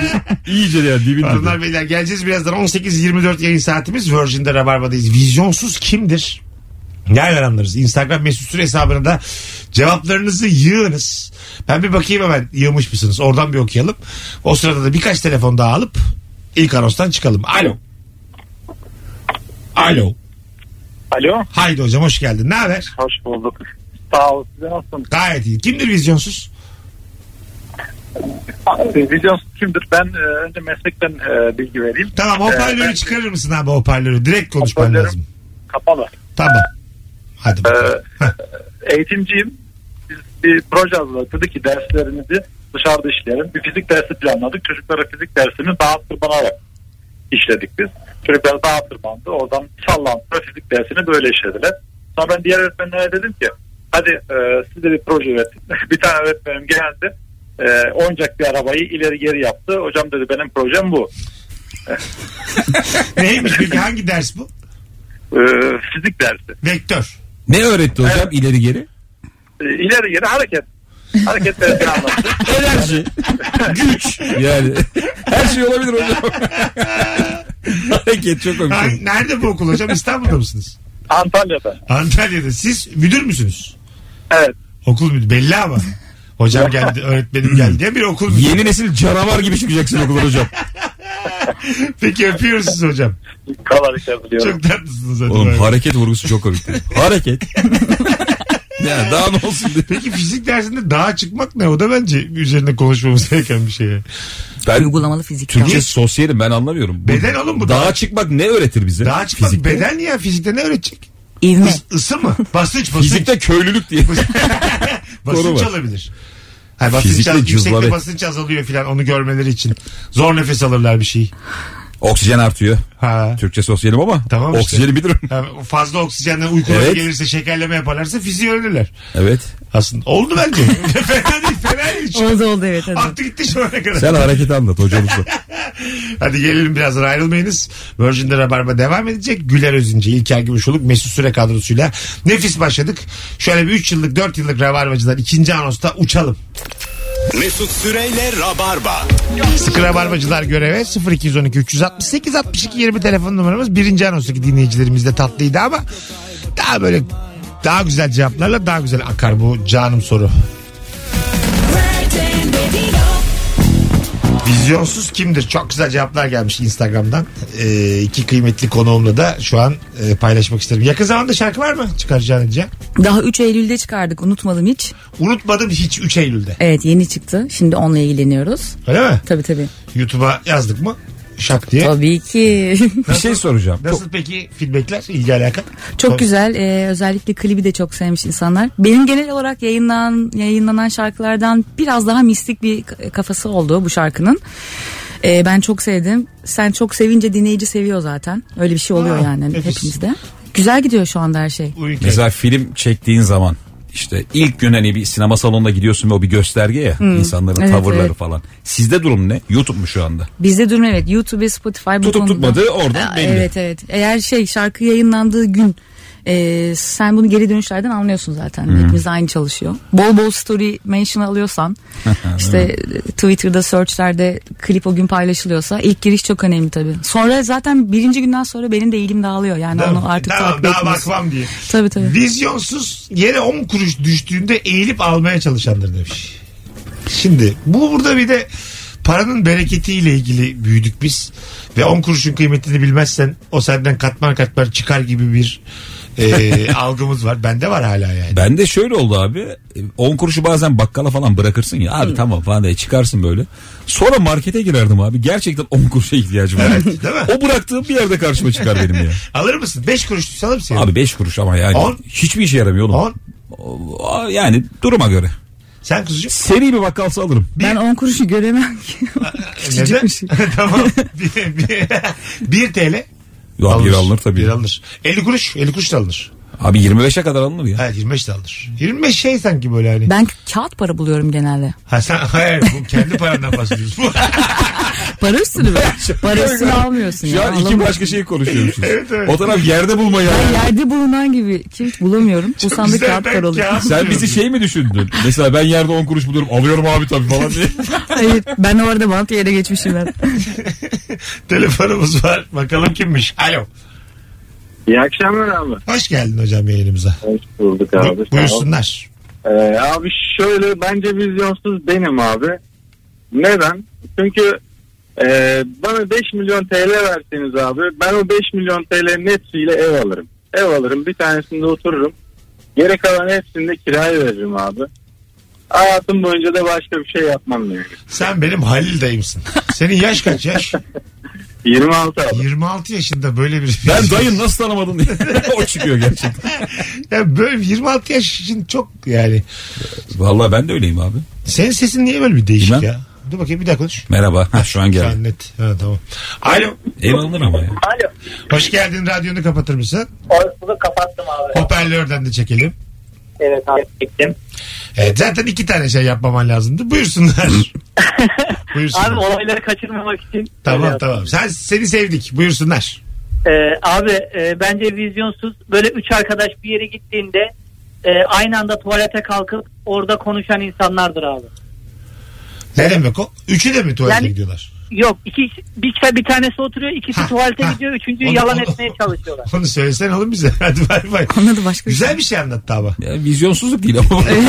E: iyice yani dibin dibi.
C: Hanımlar beyler geleceğiz birazdan 18-24 yayın saatimiz Virgin'de Rabarba'dayız. Vizyonsuz kimdir? Nereden anlarız? Instagram mesut süre hesabına da cevaplarınızı yığınız. Ben bir bakayım hemen yığmış mısınız? Oradan bir okuyalım. O sırada da birkaç telefon daha alıp ilk anonstan çıkalım. Alo. Alo.
H: Alo.
C: Haydi hocam hoş geldin. Ne haber?
H: Hoş bulduk. Sağ ol. Size nasılsın?
C: Gayet iyi. Kimdir vizyonsuz?
H: Vizyon kimdir? Ben e, önce meslekten e, bilgi vereyim.
C: Tamam
H: Ee,
C: hoparlörü
H: ben-
C: çıkarır mısın abi hoparlörü? Direkt konuşman
H: Hoparlörüm-
C: lazım.
H: Kapalı.
C: Tamam. Hadi
H: E,
C: bakalım. Heh.
H: eğitimciyim. Biz bir proje hazırladık. Dedi ki derslerinizi dışarıda işleyelim. Bir fizik dersi planladık. Çocuklara fizik dersini dağa tırmanarak işledik biz. Çocuklar dağa tırmandı. Oradan sallantıda fizik dersini böyle işlediler. Sonra ben diğer öğretmenlere dedim ki hadi e, siz de bir proje üretin. bir tane öğretmenim geldi. E, oyuncak bir arabayı ileri geri yaptı. Hocam dedi benim projem bu.
C: Neymiş peki hangi ders bu?
H: E, fizik dersi.
C: Vektör.
E: Ne öğretti hocam ileri geri?
H: E, ileri geri hareket. Hareket dersini anlattı.
E: Enerji. Güç. Yani her şey olabilir hocam. Hareket çok
C: Ha,
E: komik.
C: nerede bu okul hocam? İstanbul'da mısınız?
H: Antalya'da.
C: Antalya'da. Siz müdür müsünüz?
H: Evet.
C: Okul müdürü belli ama. Hocam geldi, öğretmenim geldi diye bir okul müdürü.
E: Yeni nesil canavar gibi çıkacaksın okuldan hocam.
C: Peki öpüyoruz sizi hocam.
H: Kalarak yazılıyorum.
C: Çok tatlısınız hadi. bay
E: Oğlum
C: bay.
E: hareket vurgusu çok komik. hareket. ya daha ne olsun diye.
C: Peki fizik dersinde dağa çıkmak ne? O da bence üzerine konuşmamız gereken bir şey. ya.
E: Ben
D: Uygulamalı fizik.
E: Türkçe sosyalim ben anlamıyorum. Bu-
C: Beden oğlum bu.
E: Dağa çıkmak ne öğretir bize?
C: Dağa çıkmak
E: Fizikte.
C: beden ya fizikte ne öğretecek?
D: İvme.
C: Is, ısı mı? Basınç basınç.
E: Fizikte köylülük diye. Doğru
C: basınç
E: var.
C: alabilir. Hayır, basınç
E: Fizikte
C: az, yüksekte
E: cızları.
C: basınç azalıyor filan onu görmeleri için. Zor nefes alırlar bir şey.
E: Oksijen artıyor.
C: Ha.
E: Türkçe sosyalim ama
C: Tamam işte.
E: oksijeni bilirim.
C: Ha, fazla oksijenden uykuları
E: Evet.
C: gelirse şekerleme yaparlarsa fiziği öldürürler.
E: Evet.
C: Aslında oldu bence. fena değil fena değil. Şu-
D: Oldu oldu evet hadi.
C: Aktı gitti şu ana kadar.
E: Sen hareketi anlat hocamızla.
C: Hadi gelelim birazdan ayrılmayınız. Virgin'de Rabarba devam edecek. Güler Özünce, İlker Gümüşoluk, Mesut Süre kadrosuyla nefis başladık. Şöyle bir 3 yıllık 4 yıllık Rabarbacılar ikinci anosta uçalım.
B: Mesut Süreyle Rabarba.
C: Sıkı Rabarbacılar göreve 0212 368 62 20 telefon numaramız. Birinci anostaki dinleyicilerimiz de tatlıydı ama daha böyle daha güzel cevaplarla daha güzel akar bu canım soru. Vizyonsuz kimdir? Çok güzel cevaplar gelmiş Instagram'dan. Ee, iki kıymetli konuğumla da şu an e, paylaşmak isterim. Yakın zamanda şarkı var mı çıkaracağın edeceğin?
D: Daha 3 Eylül'de çıkardık unutmadım hiç.
C: Unutmadım hiç 3 Eylül'de.
D: Evet yeni çıktı. Şimdi onunla ilgileniyoruz.
C: Öyle mi?
D: Tabii tabii.
C: YouTube'a yazdık mı? Şak diye.
D: Tabii ki.
E: Bir şey soracağım. Çok-
C: Nasıl peki feedbackler? ilgi alaka?
D: çok güzel. Ee, özellikle klibi de çok sevmiş insanlar. Benim genel olarak yayınlanan, yayınlanan şarkılardan biraz daha mistik bir k- kafası oldu bu şarkının. Ee, ben çok sevdim. Sen çok sevince dinleyici seviyor zaten. Öyle bir şey oluyor
C: Aa,
D: yani
C: nefis.
D: hepimizde. Güzel gidiyor şu anda her şey.
C: Uyurken.
E: Mesela film çektiğin zaman işte ilk gün hani bir sinema salonuna gidiyorsun ve o bir gösterge ya insanların
D: Evet,
E: tavırları
D: evet.
E: falan. Sizde durum ne? YouTube mu şu anda?
D: Bizde durum evet. YouTube ve Spotify bu
E: Tutup
D: konuda-
E: tutmadığı oradan
D: Aa,
E: belli.
D: Evet evet. Eğer şey şarkı yayınlandığı gün e, sen bunu geri dönüşlerden anlıyorsun zaten. Hepimiz aynı çalışıyor. Bol bol story mention alıyorsan işte e, Twitter'da searchlerde klip o gün paylaşılıyorsa ilk giriş çok önemli tabii. Sonra zaten birinci günden sonra benim de ilgim dağılıyor. Yani
C: Tamam,
D: onu artık
C: tamam,
D: takip
C: daha
D: etmiyorsun.
C: bakmam diye.
D: Tabii tabii.
C: Vizyonsuz yere 10 kuruş düştüğünde eğilip almaya çalışandır demiş. Şimdi bu burada bir de paranın bereketiyle ilgili büyüdük biz. Ve 10 kuruşun kıymetini bilmezsen o senden katman katman çıkar gibi bir e, algımız var. Bende var hala yani.
E: Ben de şöyle oldu abi. 10 kuruşu bazen bakkala falan bırakırsın ya. Abi tamam falan diye çıkarsın böyle. Sonra markete girerdim abi. Gerçekten 10 kuruşa ihtiyacım var.
C: Evet, değil mi?
E: O bıraktığım bir yerde karşıma çıkar benim ya.
C: Alır mısın? 5 kuruş düşse alır mısın?
E: Abi 5 kuruş ama yani
C: On.
E: hiçbir işe yaramıyor oğlum.
C: 10.
E: O- Yani duruma göre.
C: Sen kuzucuğum.
E: Seri bir bakkalsa alırım.
D: Ben 10 kuruşu göremem ki.
C: Neden?
D: Küçücükmüş.
C: tamam. 1 TL.
E: Ya bir alınır tabii.
C: Bir alınır. 50 kuruş. 50 kuruş da alınır.
E: Abi 25'e kadar alınır ya.
C: Evet 25 de alınır. 25 şey sanki böyle hani.
D: Ben kağıt para buluyorum genelde.
C: Ha sen hayır bu kendi parandan bahsediyorsun. Bu-
D: Para üstünü mü? Para üstünü almıyorsun.
E: Şu
D: ya,
E: an iki
D: alamıyorsun.
E: başka şey konuşuyormuşuz.
C: Evet, evet.
E: O taraf yerde bulma ya.
D: Ben yerde bulunan gibi hiç bulamıyorum. Bu sandık
C: Güzel,
D: kağıt
C: ben
D: para oluyor.
C: kağıt
E: Sen
C: buluyorum.
E: bizi şey mi düşündün? Mesela ben yerde 10 kuruş buluyorum alıyorum abi tabii falan diye.
D: Hayır ben orada bant yere geçmişim ben.
C: Telefonumuz var. Bakalım kimmiş? Alo.
H: İyi akşamlar abi.
C: Hoş geldin hocam yayınımıza.
H: Hoş bulduk
C: Bu-
H: abi. Sağ ol.
C: buyursunlar.
H: Ee, abi şöyle bence vizyonsuz benim abi. Neden? Çünkü e, bana 5 milyon TL verseniz abi ben o 5 milyon TL'nin hepsiyle ev alırım. Ev alırım bir tanesinde otururum. Geri kalan hepsinde kiraya veririm abi. Hayatım boyunca da başka bir şey yapmam yani.
C: Sen benim Halil dayımsın. Senin yaş kaç yaş?
H: 26 abi.
C: 26 yaşında böyle bir
E: Ben dayın nasıl tanımadın diye. o çıkıyor gerçekten.
C: Ya böyle 26 yaş için çok yani.
E: Vallahi ben de öyleyim abi.
C: Senin sesin niye böyle bir değişik
E: Bilmem.
C: ya? Dur bakayım bir daha konuş.
E: Merhaba. Ha, şu an
C: Şu
E: geldi.
C: an net. Ha, tamam. Alo.
E: Ev alınır ama ya.
I: Alo.
C: Hoş geldin. Radyonu kapatır mısın?
I: Orasını kapattım abi.
C: Oh. Hoparlörden de çekelim.
I: Evet abi çektim.
C: Evet, zaten iki tane şey yapmaman lazımdı. Buyursunlar. Buyursunlar.
I: Abi olayları kaçırmamak için.
C: tamam
I: Öyle
C: tamam. Sen seni sevdik. Buyursunlar.
I: Ee, abi e, bence vizyonsuz böyle üç arkadaş bir yere gittiğinde e, aynı anda tuvalete kalkıp orada konuşan insanlardır abi.
C: Ne demek o? Üçü de mi tuvalete
I: Yani-
C: gidiyorlar?
I: Yok iki bir, bir tanesi oturuyor ikisi
C: Ha,
I: tuvalete
C: ha.
I: gidiyor üçüncüyü
C: Onu-
I: yalan
C: onu-
I: etmeye çalışıyorlar.
C: Onu söylesen oğlum bize. Hadi bay bay.
D: Anladı başka bir şey.
C: Güzel bir şey anlattı ama.
E: ya vizyonsuzluk değil ama.
C: Hayır,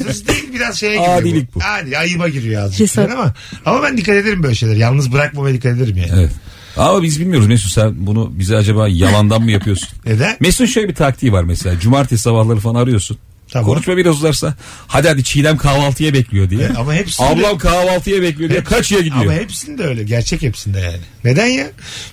C: bizim değil biraz şeye giriyor.
E: Adilik
C: bu.
E: bu.
C: Adi, ayıba giriyor azıcık.
D: Cesaret.
C: Ama, ama ben dikkat ederim böyle şeyler. Yalnız bırakmamaya dikkat ederim yani.
E: evet. Ama biz bilmiyoruz Mesut sen bunu bize acaba yalandan mı yapıyorsun?
C: Neden?
E: Mesut'un şöyle bir taktiği var mesela. Cumartesi sabahları falan arıyorsun.
C: Tamam.
E: Konuşma biraz uzarsa hadi hadi Çiğdem kahvaltıya bekliyor diye.
C: E, ama hepsinde-
E: Ablam kahvaltıya bekliyor diye kaçıya gidiyor.
C: Ama hepsinde öyle. Gerçek hepsinde yani. Neden ya?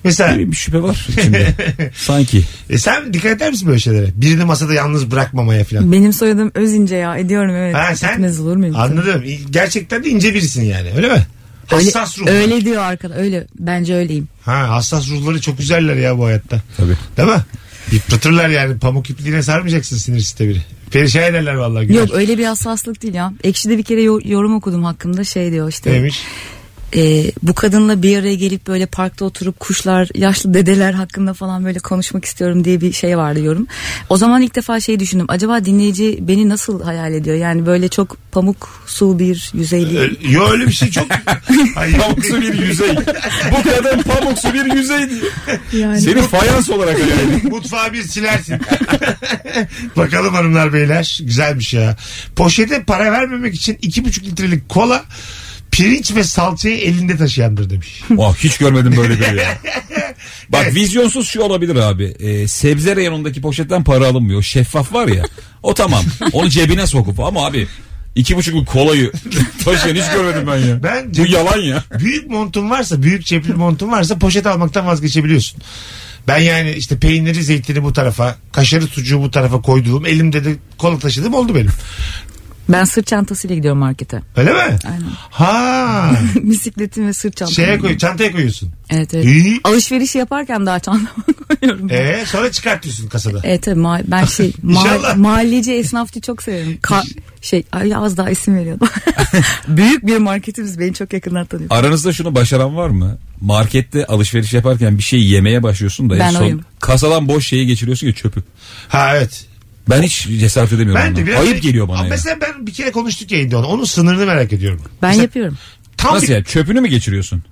C: Mesela
E: Ne bileyim, bir şüphe var içimde. Sanki.
C: e, sen dikkat eder misin böyle şeylere? Birini masada yalnız bırakmamaya falan.
D: Benim soyadım Özince ya ediyorum evet.
C: Ha sen
D: Etmez olur muyum?
C: anladım. Gerçekten de ince birisin yani öyle mi?
D: Öyle,
C: Hassas ruh.
D: öyle diyor arkadaş. Öyle bence öyleyim.
C: Ha, hassas ruhları çok güzeller ya bu hayatta.
E: Tabii.
C: Değil mi? Yıpratırlar yani pamuk ipliğine sarmayacaksın sinir sistemini. Perişan ederler vallahi. güler.
D: Yok öyle bir hassaslık değil ya. Ekşi'de bir kere yo- yorum okudum hakkında şey diyor işte.
C: Neymiş?
D: e, bu kadınla bir araya gelip böyle parkta oturup kuşlar, yaşlı dedeler hakkında falan böyle konuşmak istiyorum diye bir şey vardı yorum. O zaman ilk defa şey düşündüm. Acaba dinleyici beni nasıl hayal ediyor? Yani böyle çok pamuk su bir yüzeyli.
C: Ö- Yo öyle bir şey çok. Hayır.
E: Pamuksu bir yüzey. Bu kadın pamuksu bir yüzey diyor.
C: Ee,
D: Yani.
E: Seni fayans olarak hayal ediyor.
C: Mutfağı bir silersin. Bakalım hanımlar beyler. Güzelmiş ya. Poşete para vermemek için iki buçuk litrelik kola pirinç ve salçayı elinde taşıyandır demiş.
E: Oh, hiç görmedim böyle biri ya. Bak
C: Evet.
E: vizyonsuz şu olabilir abi. Ee, sebze reyonundaki poşetten para alınmıyor. O Şeffaf var ya. O tamam. Onu cebine sokup ama abi iki buçuk bir kolayı taşıyan hiç görmedim ben ya.
C: Ben
E: Bu yalan ya.
C: Büyük montun varsa, büyük cepli montun varsa poşet almaktan vazgeçebiliyorsun. Ben yani işte peyniri, zeytini bu tarafa, kaşarı, sucuğu bu tarafa koyduğum, elimde de kola taşıdığım oldu benim.
D: Ben sırt çantasıyla gidiyorum markete.
C: Öyle mi? Ha.
D: Bisikletim ve sırt çantam.
C: Şeye koy, çantaya koyuyorsun.
D: Evet evet.
C: İyi.
D: Alışverişi yaparken daha çantama koyuyorum. Evet.
C: Ee, sonra çıkartıyorsun kasada.
D: tabii ma- ben şey
C: İnşallah.
D: ma- mahalleci esnafçı çok severim. Ka- şey ay, az daha isim veriyordum. Büyük bir marketimiz beni çok yakından tanıyor.
E: Aranızda şunu başaran var mı? Markette alışveriş yaparken bir şey yemeye başlıyorsun da en
D: Ben
E: son
D: oyum.
E: kasadan boş şeyi geçiriyorsun ya çöpü.
C: Ha evet.
E: Ben hiç cesaret edemiyorum.
C: Ben de
E: ona.
C: biraz hani
E: Ayıp geliyor bana
C: Ama
E: ya.
C: Mesela ben bir kere konuştuk yayında onu. Onun sınırını merak ediyorum.
D: Ben
C: Mesela
D: yapıyorum.
C: Tam
E: Nasıl
C: bir-
E: ya? Çöpünü mü geçiriyorsun?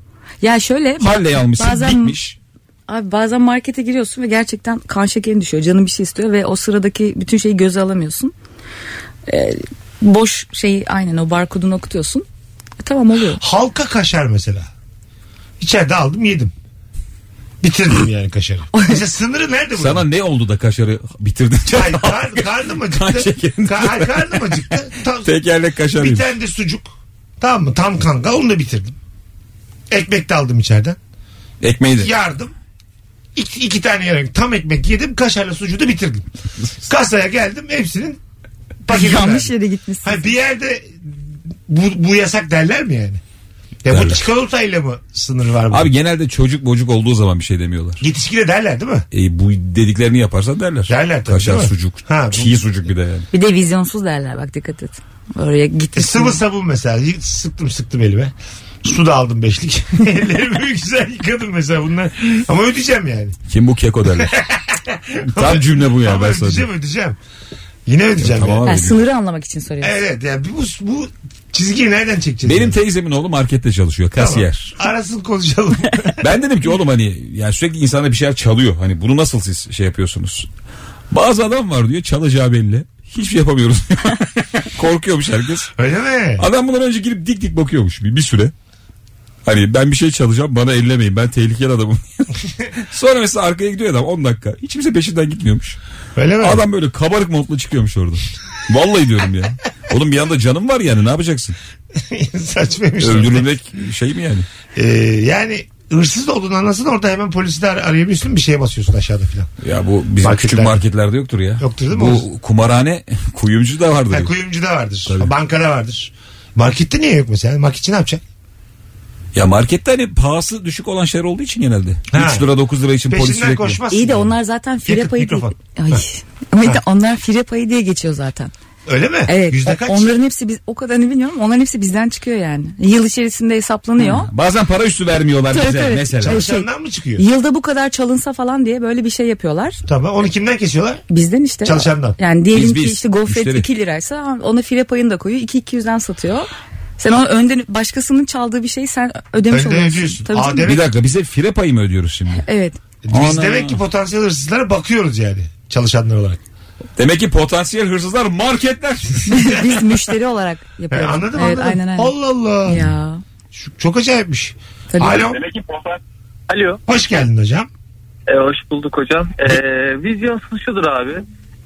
D: Ya şöyle
E: Halley almışsın
D: Bazen-
E: bitmiş.
D: Abi bazen markete giriyorsun ve gerçekten kan şekerin düşüyor. Canın bir şey istiyor ve o sıradaki bütün şeyi göze alamıyorsun. Ee, boş şeyi aynen o barkodunu okutuyorsun. E, tamam oluyor.
C: Halka kaşar mesela. İçeride aldım yedim. Bitirdim yani kaşarı. Mesela sınırı nerede bunun?
E: Sana ne oldu da kaşarı bitirdin?
C: Ay, kar, karnım
E: Kan
C: acıktı.
E: şekerim.
C: Ka- ay, karnım acıktı. Tam,
E: Tekerlek kaşar
C: bir
E: yemiş.
C: tane de sucuk. Tamam mı? Tam kanka. Onu da bitirdim. Ekmek de aldım içeriden.
E: Ekmeği de.
C: Yardım. İki, iki tane yarım. Tam ekmek yedim. Kaşarla sucuğu da bitirdim. Kasaya geldim. Hepsinin paketini
D: Yanlış
C: verdim.
D: yere gitmişsin.
C: Hayır, bir yerde bu, bu yasak derler mi yani? Ya bu
E: Derler.
C: çikolatayla mı sınır var bu?
E: Abi genelde çocuk bocuk olduğu zaman bir şey demiyorlar.
C: Yetişkine derler değil mi?
E: E, bu dediklerini yaparsan derler.
C: Derler tabii,
E: Kaşar
C: değil mi?
E: sucuk.
C: Ha, bu-
E: çiğ sucuk bir de yani.
D: Bir de vizyonsuz derler bak dikkat et. Oraya
C: E,
D: gitmişsin.
C: sıvı sabun mesela. Y- Sıktım sıktım elime. Su da aldım beşlik. Ellerimi güzel yıkadım mesela bunlar. Ama ödeyeceğim yani.
E: Kim bu keko derler. Tam cümle bu ya
C: Ama
E: ben sana.
C: ödeyeceğim
E: diyorum.
C: ödeyeceğim. Yine ödeyeceğim.
E: Ya, tamam
C: yani.
D: Ha,
E: abi.
D: sınırı anlamak için soruyorsun.
C: Evet, evet yani bu, bu çizgiyi nereden çekeceğiz?
E: Benim
C: yani?
E: teyzemin oğlu markette çalışıyor
C: Tamam.
E: kasiyer.
C: Arasın konuşalım.
E: Ben dedim ki oğlum hani yani sürekli insana bir şeyler çalıyor. Hani bunu nasıl siz şey yapıyorsunuz? Bazı adam var diyor çalacağı belli. Hiçbir şey yapamıyoruz. Korkuyormuş herkes.
C: Öyle mi?
E: Adam bundan önce girip dik dik bakıyormuş bir, bir süre. Hani ben bir şey çalacağım bana ellemeyin ben tehlikeli adamım. Sonra mesela arkaya gidiyor adam 10 dakika. Hiç kimse peşinden gitmiyormuş.
C: Öyle mi?
E: Adam böyle kabarık montlu çıkıyormuş orada. Vallahi diyorum ya. Oğlum bir anda canım var yani ne yapacaksın?
C: Saçmaymış.
E: Öldürülmek şey mi yani?
C: Ee, yani hırsız olduğunu anlasın orada hemen polisi de ar- arayabiliyorsun bir şeye basıyorsun aşağıda filan.
E: Ya bu bizim
C: Marketler.
E: küçük marketlerde yoktur ya.
C: Yoktur değil mi?
E: Bu kumarhane kuyumcu da vardır.
C: Ha,
E: ya.
C: kuyumcuda vardır.
E: Tabii.
C: Bankada vardır. Markette niye yok mesela? Marketçi ne yapacak?
E: Ya markette hani pahası düşük olan şeyler olduğu için genelde.
C: Ha.
E: 3 lira 9 lira için polis
C: Peşinden
E: sürekli.
C: koşmaz.
D: İyi de onlar zaten fire
C: Yakıt,
D: payı diye...
C: mikrofon.
D: Ay. Bir de onlar fire payı diye geçiyor zaten.
C: Öyle mi?
D: Evet.
C: Yüzde
D: o-
C: kaç?
D: Onların hepsi biz o kadarını bilmiyorum. Onların hepsi bizden çıkıyor yani. Yıl içerisinde hesaplanıyor.
E: Bazen para üstü vermiyorlar
D: Tabii,
E: bize
D: tabii.
E: mesela.
D: Tabii.
C: Çalışanlar mı çıkıyor?
D: Yılda bu kadar çalınsa falan diye böyle bir şey yapıyorlar.
C: Tamam. Onu kimden kesiyorlar?
D: Bizden işte.
C: Çalışandan.
D: Yani diyelim
E: Biz,
D: ki
E: biz,
D: işte gofret
E: müşteri.
D: 2 liraysa ona file payını da koyuyor. 2 200'den satıyor. Sen onu önden başkasının çaldığı bir şeyi sen ödemiş
C: Önden
D: oluyorsun.
C: ödüyorsun.
D: Tabii
C: Aa,
D: canım.
C: demek-
E: Bir dakika bize fire payı mı ödüyoruz şimdi?
D: Evet.
C: Biz
E: Ana.
C: demek ki potansiyel hırsızlara bakıyoruz yani. Çalışanlar olarak. E,
E: Demek ki potansiyel hırsızlar marketler.
D: Biz müşteri olarak
C: He,
D: yapıyoruz.
C: E, anladım
D: evet,
C: anladım.
D: Aynen aynen.
C: Allah Allah.
D: Ya.
C: Şu- Çok acayipmiş.
D: Tabii.
C: Alo.
H: Alo.
C: Hoş geldin hocam.
H: E, hoş bulduk hocam. E, vizyonsuz şudur abi.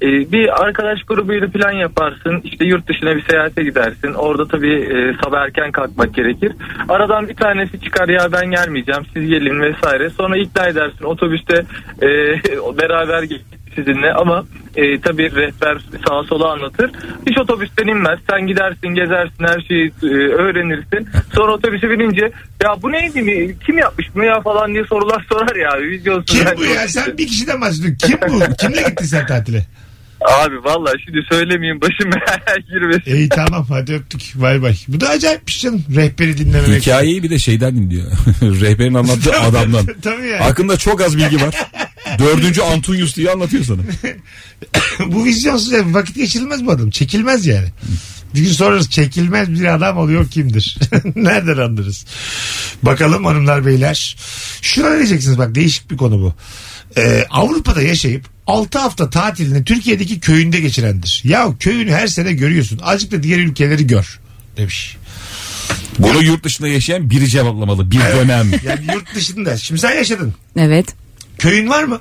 H: E, bir arkadaş grubuyla plan yaparsın. İşte yurt dışına bir seyahate gidersin. Orada tabii e, sabah erken kalkmak gerekir. Aradan bir tanesi çıkar ya ben gelmeyeceğim siz gelin vesaire. Sonra ikna edersin otobüste e, beraber gittik sizinle ama e, tabii rehber sağa sola anlatır. Hiç otobüsten inmez. Sen gidersin gezersin her şeyi e, öğrenirsin. Sonra otobüse binince ya bu neydi kim yapmış bunu ya falan diye sorular sorar ya. abi. Vizyonsuz
C: Kim
H: ben-
C: bu ya? Sen bir kişiden bahsediyorsun. Kim bu? Kimle gittin sen tatile?
H: Abi vallahi şimdi söylemeyeyim başım girmesin.
C: İyi tamam hadi öptük. Bay bay. Bu da acayipmiş canım. Rehberi dinlememek.
E: Hikayeyi bir de şeyden dinliyor. Rehberin anlattığı adamdan.
C: Tabii yani.
E: Hakkında çok az bilgi var. Dördüncü Antonius diye anlatıyor sana.
C: bu vizyonsuz ev. Vakit geçirilmez bu adam. Çekilmez yani. Bir gün sorarız çekilmez bir adam oluyor kimdir? Nereden anlarız? Bakalım hanımlar beyler. Şuna ne diyeceksiniz bak değişik bir konu bu. Ee, Avrupa'da yaşayıp 6 hafta tatilini Türkiye'deki köyünde geçirendir. Ya köyünü her sene görüyorsun. Azıcık da diğer ülkeleri gör demiş.
E: Bunu yurt dışında yaşayan biri cevaplamalı. Bir dönem.
C: Yani yurt dışında. Şimdi sen yaşadın.
D: Evet.
C: Köyün var mı?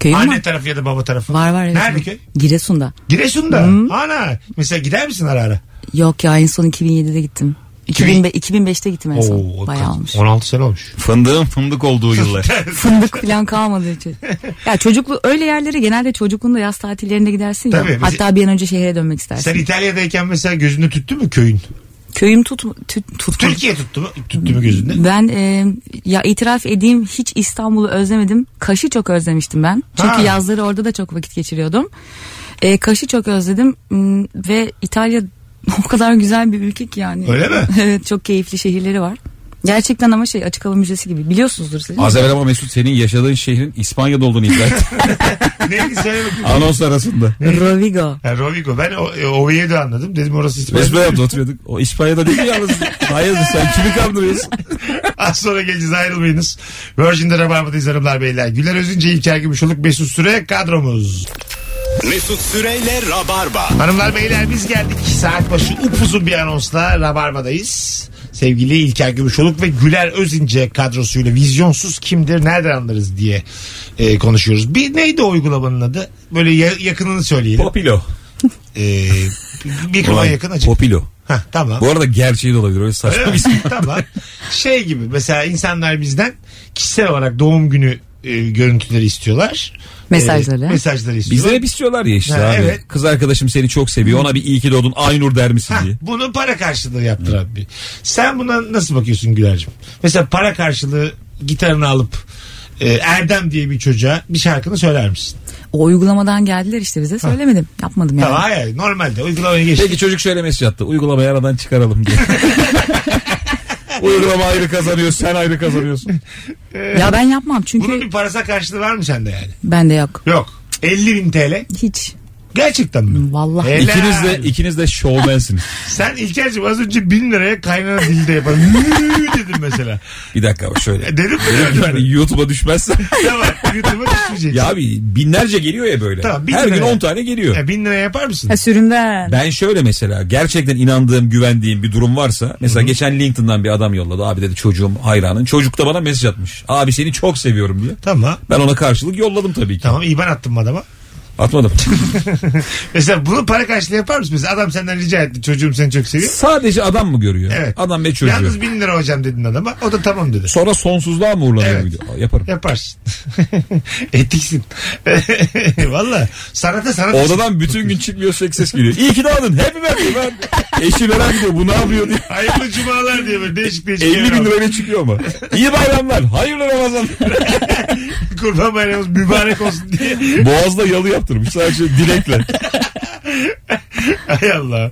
D: Köyün
C: Anne
D: var.
C: tarafı ya da baba tarafı.
D: Var var evet.
C: Nerede köy?
D: Giresun'da.
C: Giresun'da. Ana. Mesela gider misin ara ara?
D: Yok ya en son 2007'de gittim. 2005, 2005'te gittim en son.
C: Oo,
D: Bayağı olmuş.
C: 16 sene olmuş.
E: Fındığın fındık olduğu yıllar.
D: Fındık
C: Şey-
D: falan kalmadı için. Ya çocuklu öyle yerlere genelde çocukluğunda yaz tatillerinde gidersin ya.
C: Tabii, biz-
D: Hatta bir an önce şehre dönmek istersin.
C: Sen İtalya'dayken mesela gözünü tüttü mü köyün?
D: Köyüm tut, tut, tutmadı.
C: Türkiye tuttu mu? Hmm. Tüttü mü gözünde?
D: Ben e, ya itiraf edeyim hiç İstanbul'u özlemedim. Kaş'ı çok özlemiştim ben. Çünkü
C: Ha.
D: yazları orada da çok vakit geçiriyordum. E, Kaş'ı çok özledim Hmm, ve İtalya o kadar güzel bir ülke ki yani.
C: Öyle mi?
D: evet çok keyifli şehirleri var. Gerçekten ama şey açık hava müzesi gibi biliyorsunuzdur siz.
E: Az evvel ama Mesut senin yaşadığın şehrin İspanya'da olduğunu iddia etti.
C: Neydi söyle bakayım.
E: Anons arasında.
D: Rovigo.
C: Ha, Rovigo. Ben o, e, Oviedo anladım. Dedim orası
E: Mesut
C: İspanya.
E: Bey yaptı oturuyorduk. O İspanya'da değil mi yalnız? Hayırdır sen kimi kandırıyorsun?
C: Az sonra geleceğiz ayrılmayınız. Virgin'de Rabarba'dayız hanımlar beyler. Güler Özünce, İlker Gümüşoluk, Mesut Süre kadromuz.
B: Mesut Süreyle Rabarba.
C: Hanımlar beyler biz geldik. Saat başı upuzun bir anonsla Rabarba'dayız. Sevgili İlker Gümüşoluk ve Güler Özince kadrosuyla vizyonsuz kimdir nereden anlarız diye e, konuşuyoruz. Bir neydi o uygulamanın adı? Böyle ya- yakınını söyleyelim.
E: Popilo.
C: E, mikrofon yakın açık.
E: Popilo.
C: Hah, tamam.
E: Bu arada gerçeği de olabilir. Öyle
C: Öyle
E: saçma
C: mi?
E: bir isim.
C: tamam. Şey gibi mesela insanlar bizden kişisel olarak doğum günü e, görüntüleri istiyorlar.
D: Mesajları.
C: E, mesajları
E: Bizden
C: istiyorlar.
E: hep istiyorlar ya işte
C: Ha,
E: abi.
C: evet.
E: Kız arkadaşım seni çok seviyor. Ona bir iyi ki doğdun Aynur der misin
C: Hah,
E: diye.
C: bunu para karşılığı yaptır abi. Sen buna nasıl bakıyorsun Güler'cim? Mesela para karşılığı gitarını alıp e, Erdem diye bir çocuğa bir şarkını söyler misin?
D: O uygulamadan geldiler işte bize söylemedim. Yapmadım yani.
C: Tamam hayır normalde uygulamaya geç.
E: Peki çocuk şöyle mesaj attı. Uygulamayı aradan çıkaralım diye. Uygulama ayrı kazanıyor. Sen ayrı kazanıyorsun.
D: Ya ben yapmam
C: Bunun
D: çünkü
C: bir parasal karşılığı var mı sende yani?
D: bende yok.
C: Yok. 50 bin TL.
D: Hiç.
C: Gerçekten mi?
D: Vallahi.
C: Helal.
E: ikiniz de, ikiniz de şovmensiniz.
C: Sen İlker'cim az önce 1000 liraya kaynana dilde yaparım. Müü dedim mesela.
E: Bir dakika bak şöyle.
C: E, Dedim mi?
E: Dedim ki
C: Dedim mi?
E: hani YouTube'a düşmezsen.
C: Tamam. YouTube'a düşmeyeceksin.
E: ya abi binlerce geliyor ya böyle.
C: Tamam, bin
E: Her
C: lira
E: gün
C: ya.
E: 10 tane geliyor.
C: Ya bin liraya yapar mısın?
D: Ha, sürümden.
E: Ben şöyle mesela gerçekten inandığım güvendiğim bir durum varsa mesela geçen LinkedIn'dan bir adam yolladı abi dedi çocuğum hayranın çocuk da bana mesaj atmış abi seni çok seviyorum diye
C: Tamam.
E: ben ona karşılık yolladım tabii ki
C: Tamam İban attım mı adama.
E: Atmadım.
C: Mesela bunu para karşılığı yapar mısın? Mesela adam senden rica etti çocuğum seni çok seviyor.
E: Sadece adam mı görüyor?
C: Evet.
E: Adam ve çocuğu.
C: Yalnız bin lira hocam dedin adama. O da tamam dedi.
E: Sonra sonsuzluğa mı uğurlanıyor
C: Evet.
E: video? Aa, Yaparım.
C: Yaparsın. Etiksin. Valla sanata sanat.
E: Odadan bütün gün çıkmıyor seks ses geliyor. İyi ki doğdun. Happy birthday ben. Eşi merak ediyor. Bu ne yapıyor diye.
C: Hayırlı cumalar diye böyle değişik değişik.
E: 50
C: yerler
E: bin
C: var.
E: liraya çıkıyor ama. İyi bayramlar. Hayırlı Ramazan.
C: Kurban bayramımız mübarek olsun diye.
E: Boğaz'da yalı yaptırmış. Sadece dilekle.
C: Hay Allah.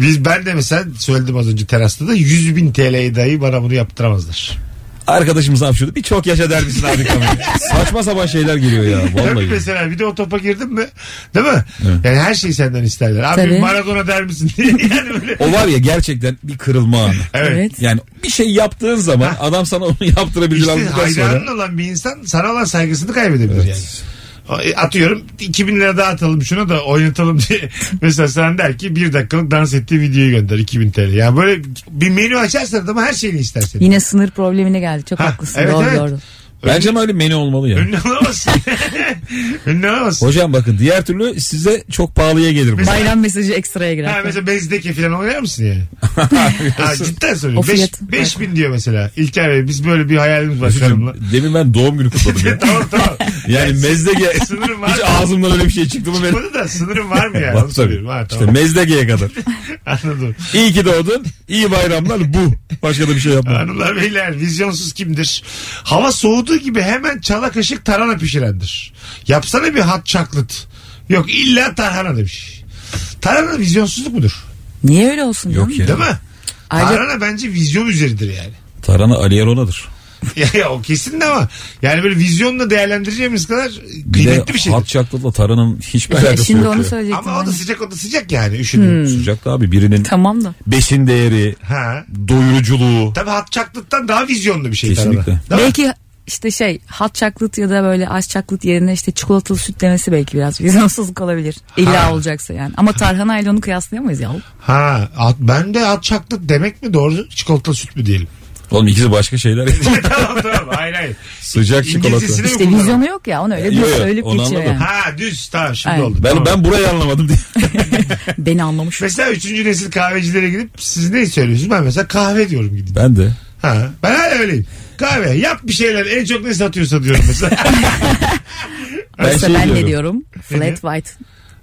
C: Biz ben de mesela söyledim az önce terasta da 100 bin TL'yi dahi bana bunu yaptıramazlar.
E: Arkadaşımız hapşırdı. Bir çok yaşa der misin abi kameraya? Saçma sapan şeyler geliyor ya.
C: Tabii
E: Vallahi.
C: mesela bir de o topa girdim mi değil mi? Yani her şeyi senden isterler. Abi
D: Tabii.
C: Maradona der misin diye. Yani böyle.
E: O var ya gerçekten bir kırılma anı.
C: Evet.
D: Evet.
E: Yani bir şey yaptığın zaman adam sana onu yaptırabilecek
C: İşte
E: aldıktan
C: hayranın
E: sonra.
C: olan bir insan sana olan saygısını kaybedebilir yani.
E: Evet.
C: E, atıyorum 2000 lira daha atalım şuna da oynatalım diye. Mesela sana der ki bir dakikalık dans ettiği videoyu gönder 2000 TL. Yani böyle bir menü açarsan ama her şeyini istersen.
D: Yine sınır problemine geldi. Çok
C: Ha,
D: haklısın.
C: evet,
D: doğru
C: evet.
D: doğru.
E: Bence ama öyle menü olmalı ya.
C: Önüne alamazsın. Önüne alamazsın.
E: Hocam bakın diğer türlü size çok pahalıya gelir bu.
D: Bayram mesajı ekstraya girer.
C: Ha mesela bezdeki falan oynar mısın yani? ha, cidden
D: O
C: söylüyorum. Beş-
D: fiyat.
C: 5000 diyor mesela. İlker Bey biz böyle bir hayalimiz var karımla.
E: Demin ben doğum günü kutladım ya.
C: tamam tamam.
E: Yani mezdege
C: Sınırım var.
E: hiç ağzımdan öyle bir şey çıktı mı benim?
C: Bunu da sınırın var mı yani?
E: Var
C: Onu
E: tabii.
C: soruyorum. Ha,
E: İşte
C: tamam.
E: mezdegeye kadar.
C: Anladım.
E: İyi ki doğdun. İyi bayramlar bu. Başka da bir şey yapma.
C: Hanımlar beyler vizyonsuz kimdir? Hava soğuduğu gibi hemen çala kaşık tarhana pişirendir. Yapsana bir hot chocolate. Yok illa tarhana demiş. Tarhana vizyonsuzluk mudur?
D: Niye öyle olsun?
E: Yok
D: canım?
E: ya.
C: Değil mi?
D: Ayrıca-
C: Tarhana bence vizyon üzeridir yani.
E: Tarhana Ali Erola'dır.
C: Ya, ya o kesin de ama yani böyle vizyonla değerlendireceğimiz kadar
E: Bir
C: kıymetli
E: de
C: bir şeydir.
E: hat çaklıkla tarhananın hiçbir
D: İşte
E: alakası
D: E, şimdi
E: yok.
D: onu
E: ya.
D: söyleyecektim.
C: Ama o da
D: ben.
C: sıcak o da sıcak yani üşüdüm.
E: Sıcak da abi birinin
D: Tamam da.
E: besin değeri,
C: Ha.
E: doyuruculuğu.
C: Tabii hot çaklıktan daha vizyonlu bir şey.
E: Kesinlikle.
C: tarhana. Değil mi?
D: Belki işte şey hot chocolate ya da böyle ice chocolate yerine işte çikolatalı süt demesi belki biraz vizyonsuzluk olabilir. İlla
C: Ha.
D: olacaksa yani. Ama tarhana ile onu kıyaslayamayız ya.
C: Ha, at, ben de at çaklık demek mi doğru? Çikolatalı süt mü diyelim?
E: Oğlum ikisi başka şeyler.
C: tamam tamam hayır hayır.
E: Sıcak çikolata.
C: İngilizcesini mi
D: İşte
C: kullanalım?
D: vizyonu yok ya onu öyle
E: Yok,
D: düz
E: yok,
D: söyleyip
E: onu
D: geçiyor
E: anladım.
D: yani.
C: Ha düz tamam şimdi
D: Aynen.
C: oldu.
E: Ben
C: tamam.
E: ben burayı anlamadım diye.
D: Beni anlamış.
C: Mesela üçüncü nesil kahvecilere gidip siz ne söylüyorsunuz? Ben mesela kahve diyorum gidip.
E: Ben de.
C: Ha, ben hala öyleyim. Kahve yap bir şeyler en çok ne satıyorsa diyorum mesela.
E: Ben
D: Oysa
E: şey
D: ben ne
E: diyorum.
D: diyorum?
C: diyor?
D: Flat white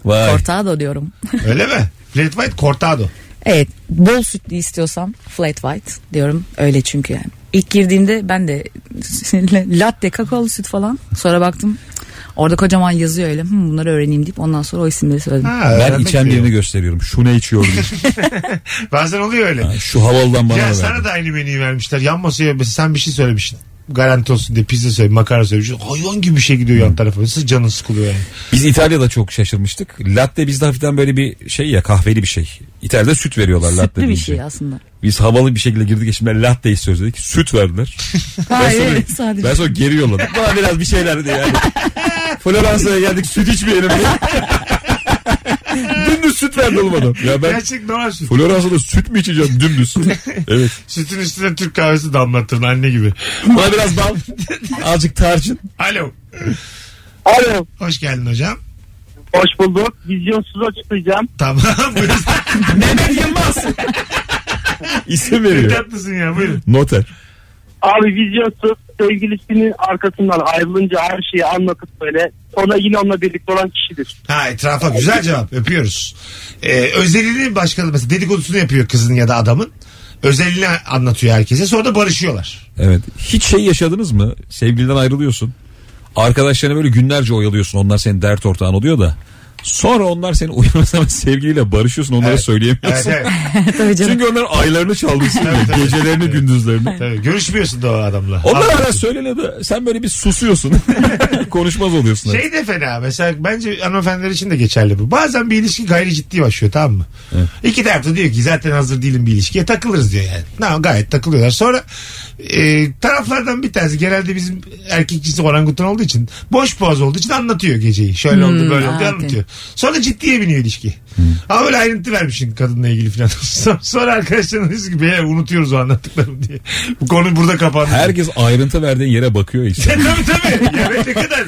E: Vay.
D: cortado diyorum.
C: Öyle mi? Red White Cortado.
D: Evet bol sütlü istiyorsam flat white diyorum. Öyle çünkü yani. İlk girdiğimde ben de latte kakaolu süt falan. Sonra baktım orada kocaman yazıyor öyle. Hmm, bunları öğreneyim deyip ondan sonra o isimleri söyledim.
C: Ha,
E: Ben
C: öğrenmek
E: içen
C: diyor.
E: birini gösteriyorum. Şu ne içiyor diye.
C: Bazen oluyor öyle.
E: Şu havalıdan bana
C: ya
E: da
C: sana
E: ver.
C: da aynı menüyü vermişler. Yan masaya mesela sen bir şey söylemişsin. Garanti olsun diye pizza söylemiş, makarna söylemiş. Hayvan gibi bir şey gidiyor yan tarafa. Nasıl canın sıkılıyor yani.
E: Biz İtalya'da çok şaşırmıştık. Latte bizde hafiften böyle bir şey ya kahveli bir şey. İtalya'da süt veriyorlar latte
D: Sütlü bir
E: deyince.
D: şey aslında.
E: Biz havalı bir şekilde girdik eşimle latte istiyoruz dedik. Süt verdiler.
D: Hayır
E: sonra-
D: evet, sadece.
E: Ben sonra geri yolladım. Bana biraz bir şeyler diye yani. Floransa'ya geldik süt içmeyelim diye. Dümdüz süt verdi oğlum adam. Ya ben
C: Gerçek normal süt.
E: Floransa'da süt mü içeceğim dümdüz? evet.
C: Sütün üstüne Türk kahvesi damlattın anne gibi.
E: Bana biraz bal. Azıcık tarçın.
C: Alo.
I: Alo.
C: Hoş geldin hocam.
I: Hoş bulduk. Vizyonsuz açıklayacağım.
C: Tamam buyurun.
E: Mehmet Yılmaz. İsim
C: Ne
E: veriyor.
C: tatlısın ya buyurun.
E: Noter.
I: Abi vizyonsuz sevgilisinin arkasından ayrılınca her şeyi anlatıp böyle sonra yine onunla birlikte olan kişidir.
C: Ha etrafa güzel cevap öpüyoruz. Ee, özelini başkaları mesela dedikodusunu yapıyor kızın ya da adamın. Özelini anlatıyor herkese sonra da barışıyorlar.
E: Evet. Hiç şey yaşadınız mı? Sevgiliden ayrılıyorsun. Arkadaşlarını böyle günlerce oyalıyorsun. Onlar senin dert ortağın oluyor da. Sonra onlar seni uyarmasına sevgiliyle barışıyorsun. Onlara
C: Evet. Evet,
E: söyleyemiyorsun.
C: evet.
D: Tabii canım.
E: Çünkü onlar aylarını çalmışsın.
C: Tabii, tabii.
E: gecelerini
C: Evet.
E: gündüzlerini.
C: Tabii, görüşmüyorsun da o adamla.
E: Onlar
C: Anlatıyorsun.
E: hala söylene de sen böyle bir susuyorsun. Konuşmaz oluyorsun.
C: Şey de fena mesela bence hanımefendiler için de geçerli bu. Bazen bir ilişki gayri ciddi başlıyor tamam mı? İki taraf da diyor ki zaten hazır değilim bir ilişkiye takılırız diyor yani. Tamam gayet takılıyorlar. Sonra e, taraflardan bir tanesi genelde bizim erkek cinsi orangutan olduğu için boş boğaz olduğu için anlatıyor geceyi. Şöyle oldu
D: Hmm,
C: böyle oldu
D: evet.
C: anlatıyor. Sonra ciddiye biniyor ilişki. Ama böyle ayrıntı vermişsin kadınla ilgili falan. Sonra- Sonra arkadaşlarına diyorsun ki "Beyler, unutuyoruz o anlattıklarını diye. Bu konu burada kapandı.
E: Herkes ayrıntı verdiğin yere bakıyor işte.
C: tabii tabii. Yani ne kadar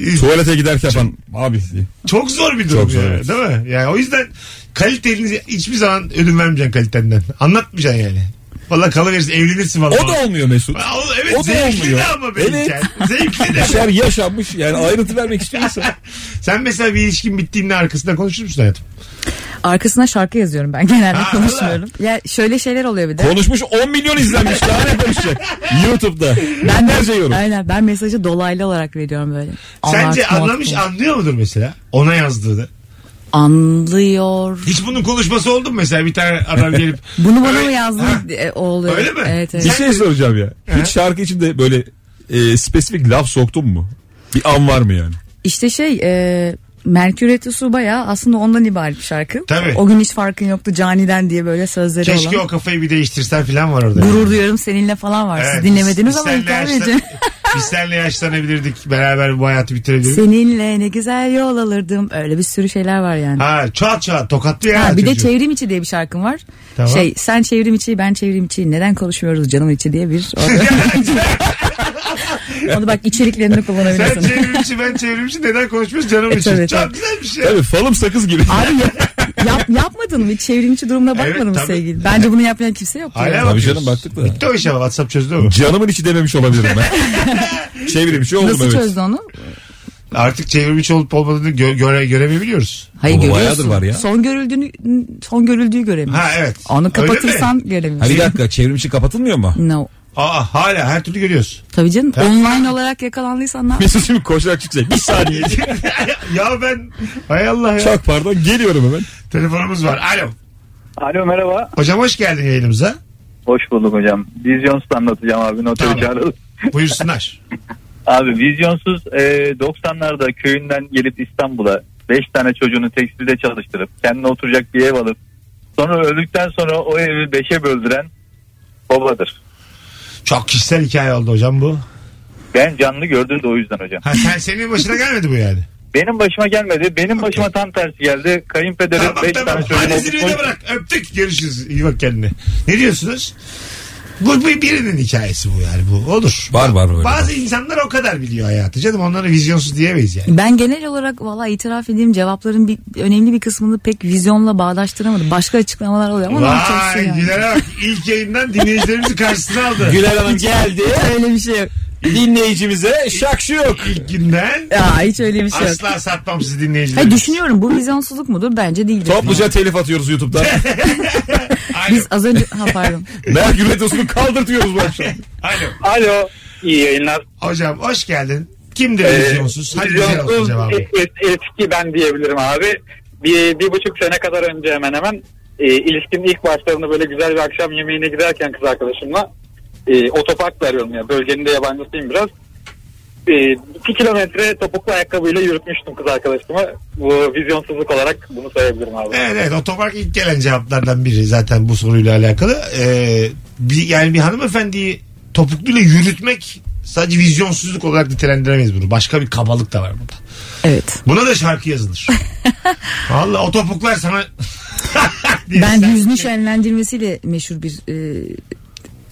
C: e,
E: Tuvalete giderken falan
C: Şey-
E: abi diye.
C: Çok zor bir durum
E: Çok zor,
C: ya,
E: evet.
C: Değil mi? Yani o yüzden kalitenizi hiçbir zaman ödün vermeyeceksin kalitenden. Anlatmayacaksın yani. Valla kalıverirsin evlenirsin valla.
E: O da olmuyor Mesut.
C: Aa, o- evet
E: o da
C: zevkli
E: olmuyor.
C: de ama benim
E: Evet.
C: yani. Zevkli
E: Bir şey
C: de.
E: şeyler yaşanmış yani ayrıntı vermek istiyorsan.
C: Sen mesela bir ilişkin bittiğinde arkasında konuşur musun hayatım?
D: Arkasına şarkı yazıyorum ben genelde
C: Ha,
D: konuşmuyorum. Ya şöyle şeyler oluyor bir de.
E: Konuşmuş 10 milyon izlenmiş daha ne konuşacak? YouTube'da. Ben nerede yorum?
D: Aynen ben mesajı dolaylı olarak veriyorum böyle.
C: Sence
D: Anlarsın,
C: anlamış
D: anlarsın.
C: anlıyor mudur mesela? Ona yazdığını.
D: anlıyor.
C: Hiç bunun konuşması oldu mu mesela bir tane adam gelip.
D: Bunu bana
C: Öyle-
D: mı
C: Ha,
D: yazdın e, o oluyor.
C: Öyle mi?
D: Evet, evet.
E: Bir şey soracağım ya. Hiç şarkı içinde böyle e, spesifik laf soktun mu? Bir an var mı yani?
D: İşte şey e, Merkür Retrosu bayağı aslında ondan ibaret bir şarkı.
C: Tabii.
D: O gün hiç farkın yoktu caniden diye böyle sözleri
C: Keşke
D: olan.
C: o kafayı bir değiştirsen falan var orada.
D: Gurur duyuyorum seninle falan var. Siz dinlemediniz
C: biz
D: ama
C: seninle
D: hikaye
C: yaşlan-
D: vereceğim.
C: Biz seninle yaşlanabilirdik. Beraber bu hayatı bitirebilirdik.
D: Seninle ne güzel yol alırdım. Öyle bir sürü şeyler var yani. Ha,
C: Ha çat çat tokatlı ya.
D: bir de
C: çocuğu.
D: çevrim içi diye bir şarkım var.
C: Tamam.
D: Şey sen çevrim içi ben çevrim içi neden konuşmuyoruz canım içi diye bir. Onu bak içeriklerinde
C: Sen
D: kullanabilirsin.
C: çevrimçi ben çevrimçi neden konuşmuyoruz canım
D: E,
C: için.
D: tabii,
C: Çok
D: tabii.
C: güzel bir şey.
E: Tabii falım sakız gibi.
D: Abi yap, yap- yapmadın mı? Hiç çevrimçi durumuna bakmadın
C: Evet,
D: mı
C: tabii.
D: sevgili? Bence bunu yapmayan kimse yok.
C: Hala
E: Tabii
C: bakıyoruz.
E: canım, baktık da.
C: Bitti o iş ama WhatsApp çözdü mü?
E: Canımın içi dememiş olabilirim ben. Çevirim şey oldum
D: Nasıl
E: evet.
D: çözdü onu?
C: Artık çevrimçi olup olmadığını gö- göre göremeyebiliyoruz.
D: Hayır
E: Oğlum,
D: görüyorsun.
E: bayağıdır var ya.
D: Son görüldüğünü son görüldüğü göremiyorsun.
C: Ha evet.
D: Onu
C: Öyle mi?
D: kapatırsan
E: Ha Hani bir
D: göremiyorsun.
E: dakika çevrimçi kapatılmıyor mu?
D: No.
C: Aa hala her türlü görüyoruz.
D: Tabii canım.
C: Ha.
D: Online olarak yakalandıysan ne yap-
E: Mesut şimdi koşarak çıkacak. Bir saniye.
C: ya ben hay Allah ya.
E: Çok pardon geliyorum hemen.
C: Telefonumuz var. Alo.
H: Alo merhaba.
C: Hocam hoş geldin yayınımıza.
H: Hoş bulduk hocam. Vizyonsuz anlatacağım abi. Noter
C: Tamam.
H: çağıralım.
C: Buyursunlar.
H: Abi vizyonsuz e, 90'larda köyünden gelip İstanbul'a 5 tane çocuğunu tekstilde çalıştırıp kendine oturacak bir ev alıp sonra öldükten sonra o evi 5'e böldüren babadır.
C: Çok kişisel hikaye oldu hocam bu.
H: Ben canlı gördüm de o yüzden hocam.
C: Ha sen senin başına gelmedi bu yani.
H: Benim başıma gelmedi. Benim başıma tam tersi geldi. Kayınpederim
C: tamam
H: 5
C: tamam.
H: tane çocuğunu
C: Hadi zirvede bırak. Öptük. Görüşürüz. İyi bak kendine. Ne diyorsunuz? Bu bu birinin hikayesi bu yani bu olur.
E: Var, var,
C: Ba-
E: var.
C: Bazı insanlar o kadar biliyor hayatı canım onlara vizyonsuz diyemeyiz yani.
D: Ben genel olarak valla itiraf edeyim cevapların bir, önemli bir kısmını pek vizyonla bağdaştıramadım. Başka açıklamalar oluyor ama ne yapacaksın
C: Vay
D: yani?
C: Güler'e bak ilk yayından dinleyicilerimizi karşısına aldı.
E: Güler Hanım geldi.
D: Öyle bir şey yok.
E: Dinleyicimize şakşı yok.
C: İlk günden
D: Ya hiç öyle bir şey yok.
C: asla satmam sizi dinleyicilerimiz.
D: Hayır, düşünüyorum bu vizyonsuzluk mudur? Bence değildir.
E: Topluca telif atıyoruz YouTube'da.
C: Alo.
D: Biz az önce... Ha pardon.
E: Merkür Retrosu'nu kaldırtıyoruz bu akşam.
C: Alo.
H: Alo. İyi yayınlar.
C: Hocam hoş geldin. Kimdir
H: Ee,
C: vizyonsuz? Hadi güzel olsun
H: vizyonsuz
C: cevabı.
H: et- et- etki ben diyebilirim abi. Bir, bir buçuk sene kadar önce hemen hemen e, ilişkinin ilk başlarında böyle güzel bir akşam yemeğine giderken kız arkadaşımla e, otopark arıyorum ya. Bölgenin de yabancısıyım biraz. E, iki kilometre topuklu ayakkabıyla yürütmüştüm kız arkadaşımı. Bu vizyonsuzluk olarak bunu sayabilirim abi.
C: Evet evet otopark ilk gelen cevaplardan biri zaten bu soruyla alakalı. Ee, bir, yani bir hanımefendiyi topukluyla yürütmek sadece vizyonsuzluk olarak nitelendiremeyiz bunu. Başka bir kabalık da var burada.
D: Evet.
C: Buna da şarkı yazılır. Valla o topuklar sana... diye
D: Ben
C: sen-
D: yüzünü şenlendirmesiyle meşhur bir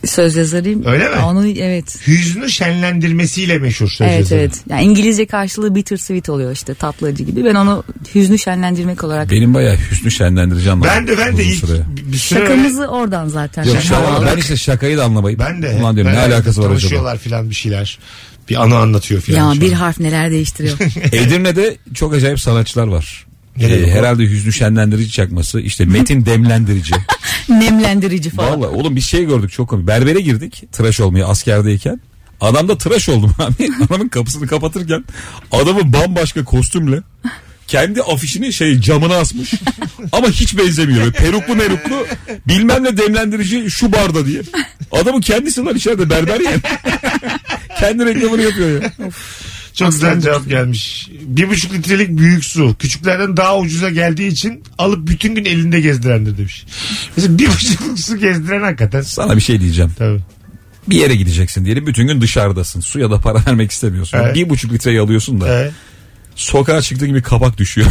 D: e, söz yazarıyım.
C: Öyle mi?
D: Onu evet.
C: Hüznü şenlendirmesiyle meşhur söz
D: evet
C: yazarı.
D: evet. Yani İngilizce karşılığı bittersweet oluyor işte tatlı acı gibi. Ben onu hüznü şenlendirmek olarak
E: Benim bayağı hüsnü şenlendirici anladım.
C: Ben de ben de
E: Uzun
C: ilk
E: süre.
C: bir süre öyle-
D: şakamızı oradan zaten.
E: Yok
D: Şaka
E: şaka-
D: olarak.
E: ben işte şakayı da anlamayıp.
C: ben de
E: Ulan diyorum ne
C: beraber
E: alakası var acaba?
C: Konuşuyorlar filan bir şeyler. Bir anı anlatıyor
D: Ya
C: filan.
D: bir harf neler değiştiriyor.
E: Edirne'de çok acayip sanatçılar var.
C: Ne demek
E: Ee,
C: o?
E: herhalde hüznü şenlendirici çakması işte Metin demlendirici.
D: Nemlendirici falan.
E: Valla oğlum bir şey gördük çok komik. Berbere girdik tıraş olmaya askerdeyken. Adamda tıraş oldum abi. Adamın kapısını kapatırken adamı bambaşka kostümle kendi afişini şey camına asmış. Ama hiç benzemiyor. Böyle peruklu meruklu bilmem ne demlendirici şu barda diye. Adamın kendisi var içeride berber yani. kendi reklamını yapıyor ya.
C: Çok güzel cevap gelmiş. Bir buçuk litrelik büyük su. Küçüklerden daha ucuza geldiği için alıp bütün gün elinde gezdirendir demiş. Mesela bir buçuk su gezdiren hakikaten.
E: Sana bir şey diyeceğim.
C: Tabii.
E: Bir yere gideceksin diyelim. Bütün gün dışarıdasın. Suya da para vermek istemiyorsun.
C: Evet.
E: Bir buçuk litreyi alıyorsun da.
C: Evet.
E: Sokağa çıktığın gibi kabak düşüyor.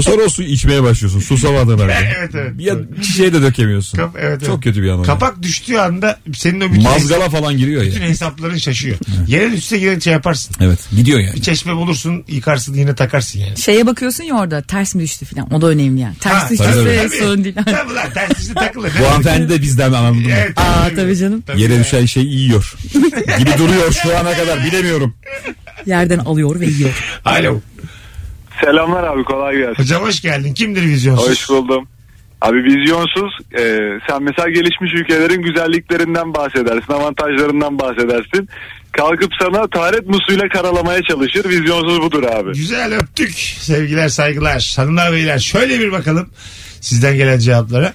E: Sonra o suyu içmeye başlıyorsun. Susamadığın halde.
C: Evet, evet.
E: Ya şişeye de dökemiyorsun.
C: Kap- evet,
E: Çok
C: evet.
E: kötü bir an. o ya.
C: Ee, Kapak şey- düştüğü anda senin o bütün,
E: Mazgala falan giriyor
C: bütün
E: ya.
C: hesapların şaşıyor. Yerin üstüne giren şey yaparsın.
E: Evet gidiyor yani.
C: Bir çeşme bulursun yıkarsın yine takarsın yani.
D: Şeye bakıyorsun ya orada ters mi düştü falan. O da önemli yani. Ters
C: Ha,
D: düştüyse
E: tabii,
D: sorun değil.
C: Tabii lan ters işte takılır.
E: Bu hanımefendi de bizden anladın mı?
C: Evet,
D: Aa tabii canım.
E: Yere düşen şeyi yiyor. gibi duruyor şu ana kadar bilemiyorum.
D: Yerden alıyor ve yiyor.
C: Alo.
H: Selamlar abi kolay gelsin.
C: Hocam hoş geldin. Kimdir vizyonsuz?
H: Hoş buldum. Abi vizyonsuz e, sen mesela gelişmiş ülkelerin güzelliklerinden bahsedersin, avantajlarından bahsedersin. Kalkıp sana taharet musuyla karalamaya çalışır. Vizyonsuz budur abi.
C: Güzel öptük. Sevgiler saygılar. Hanımlar beyler şöyle bir bakalım sizden gelen cevaplara.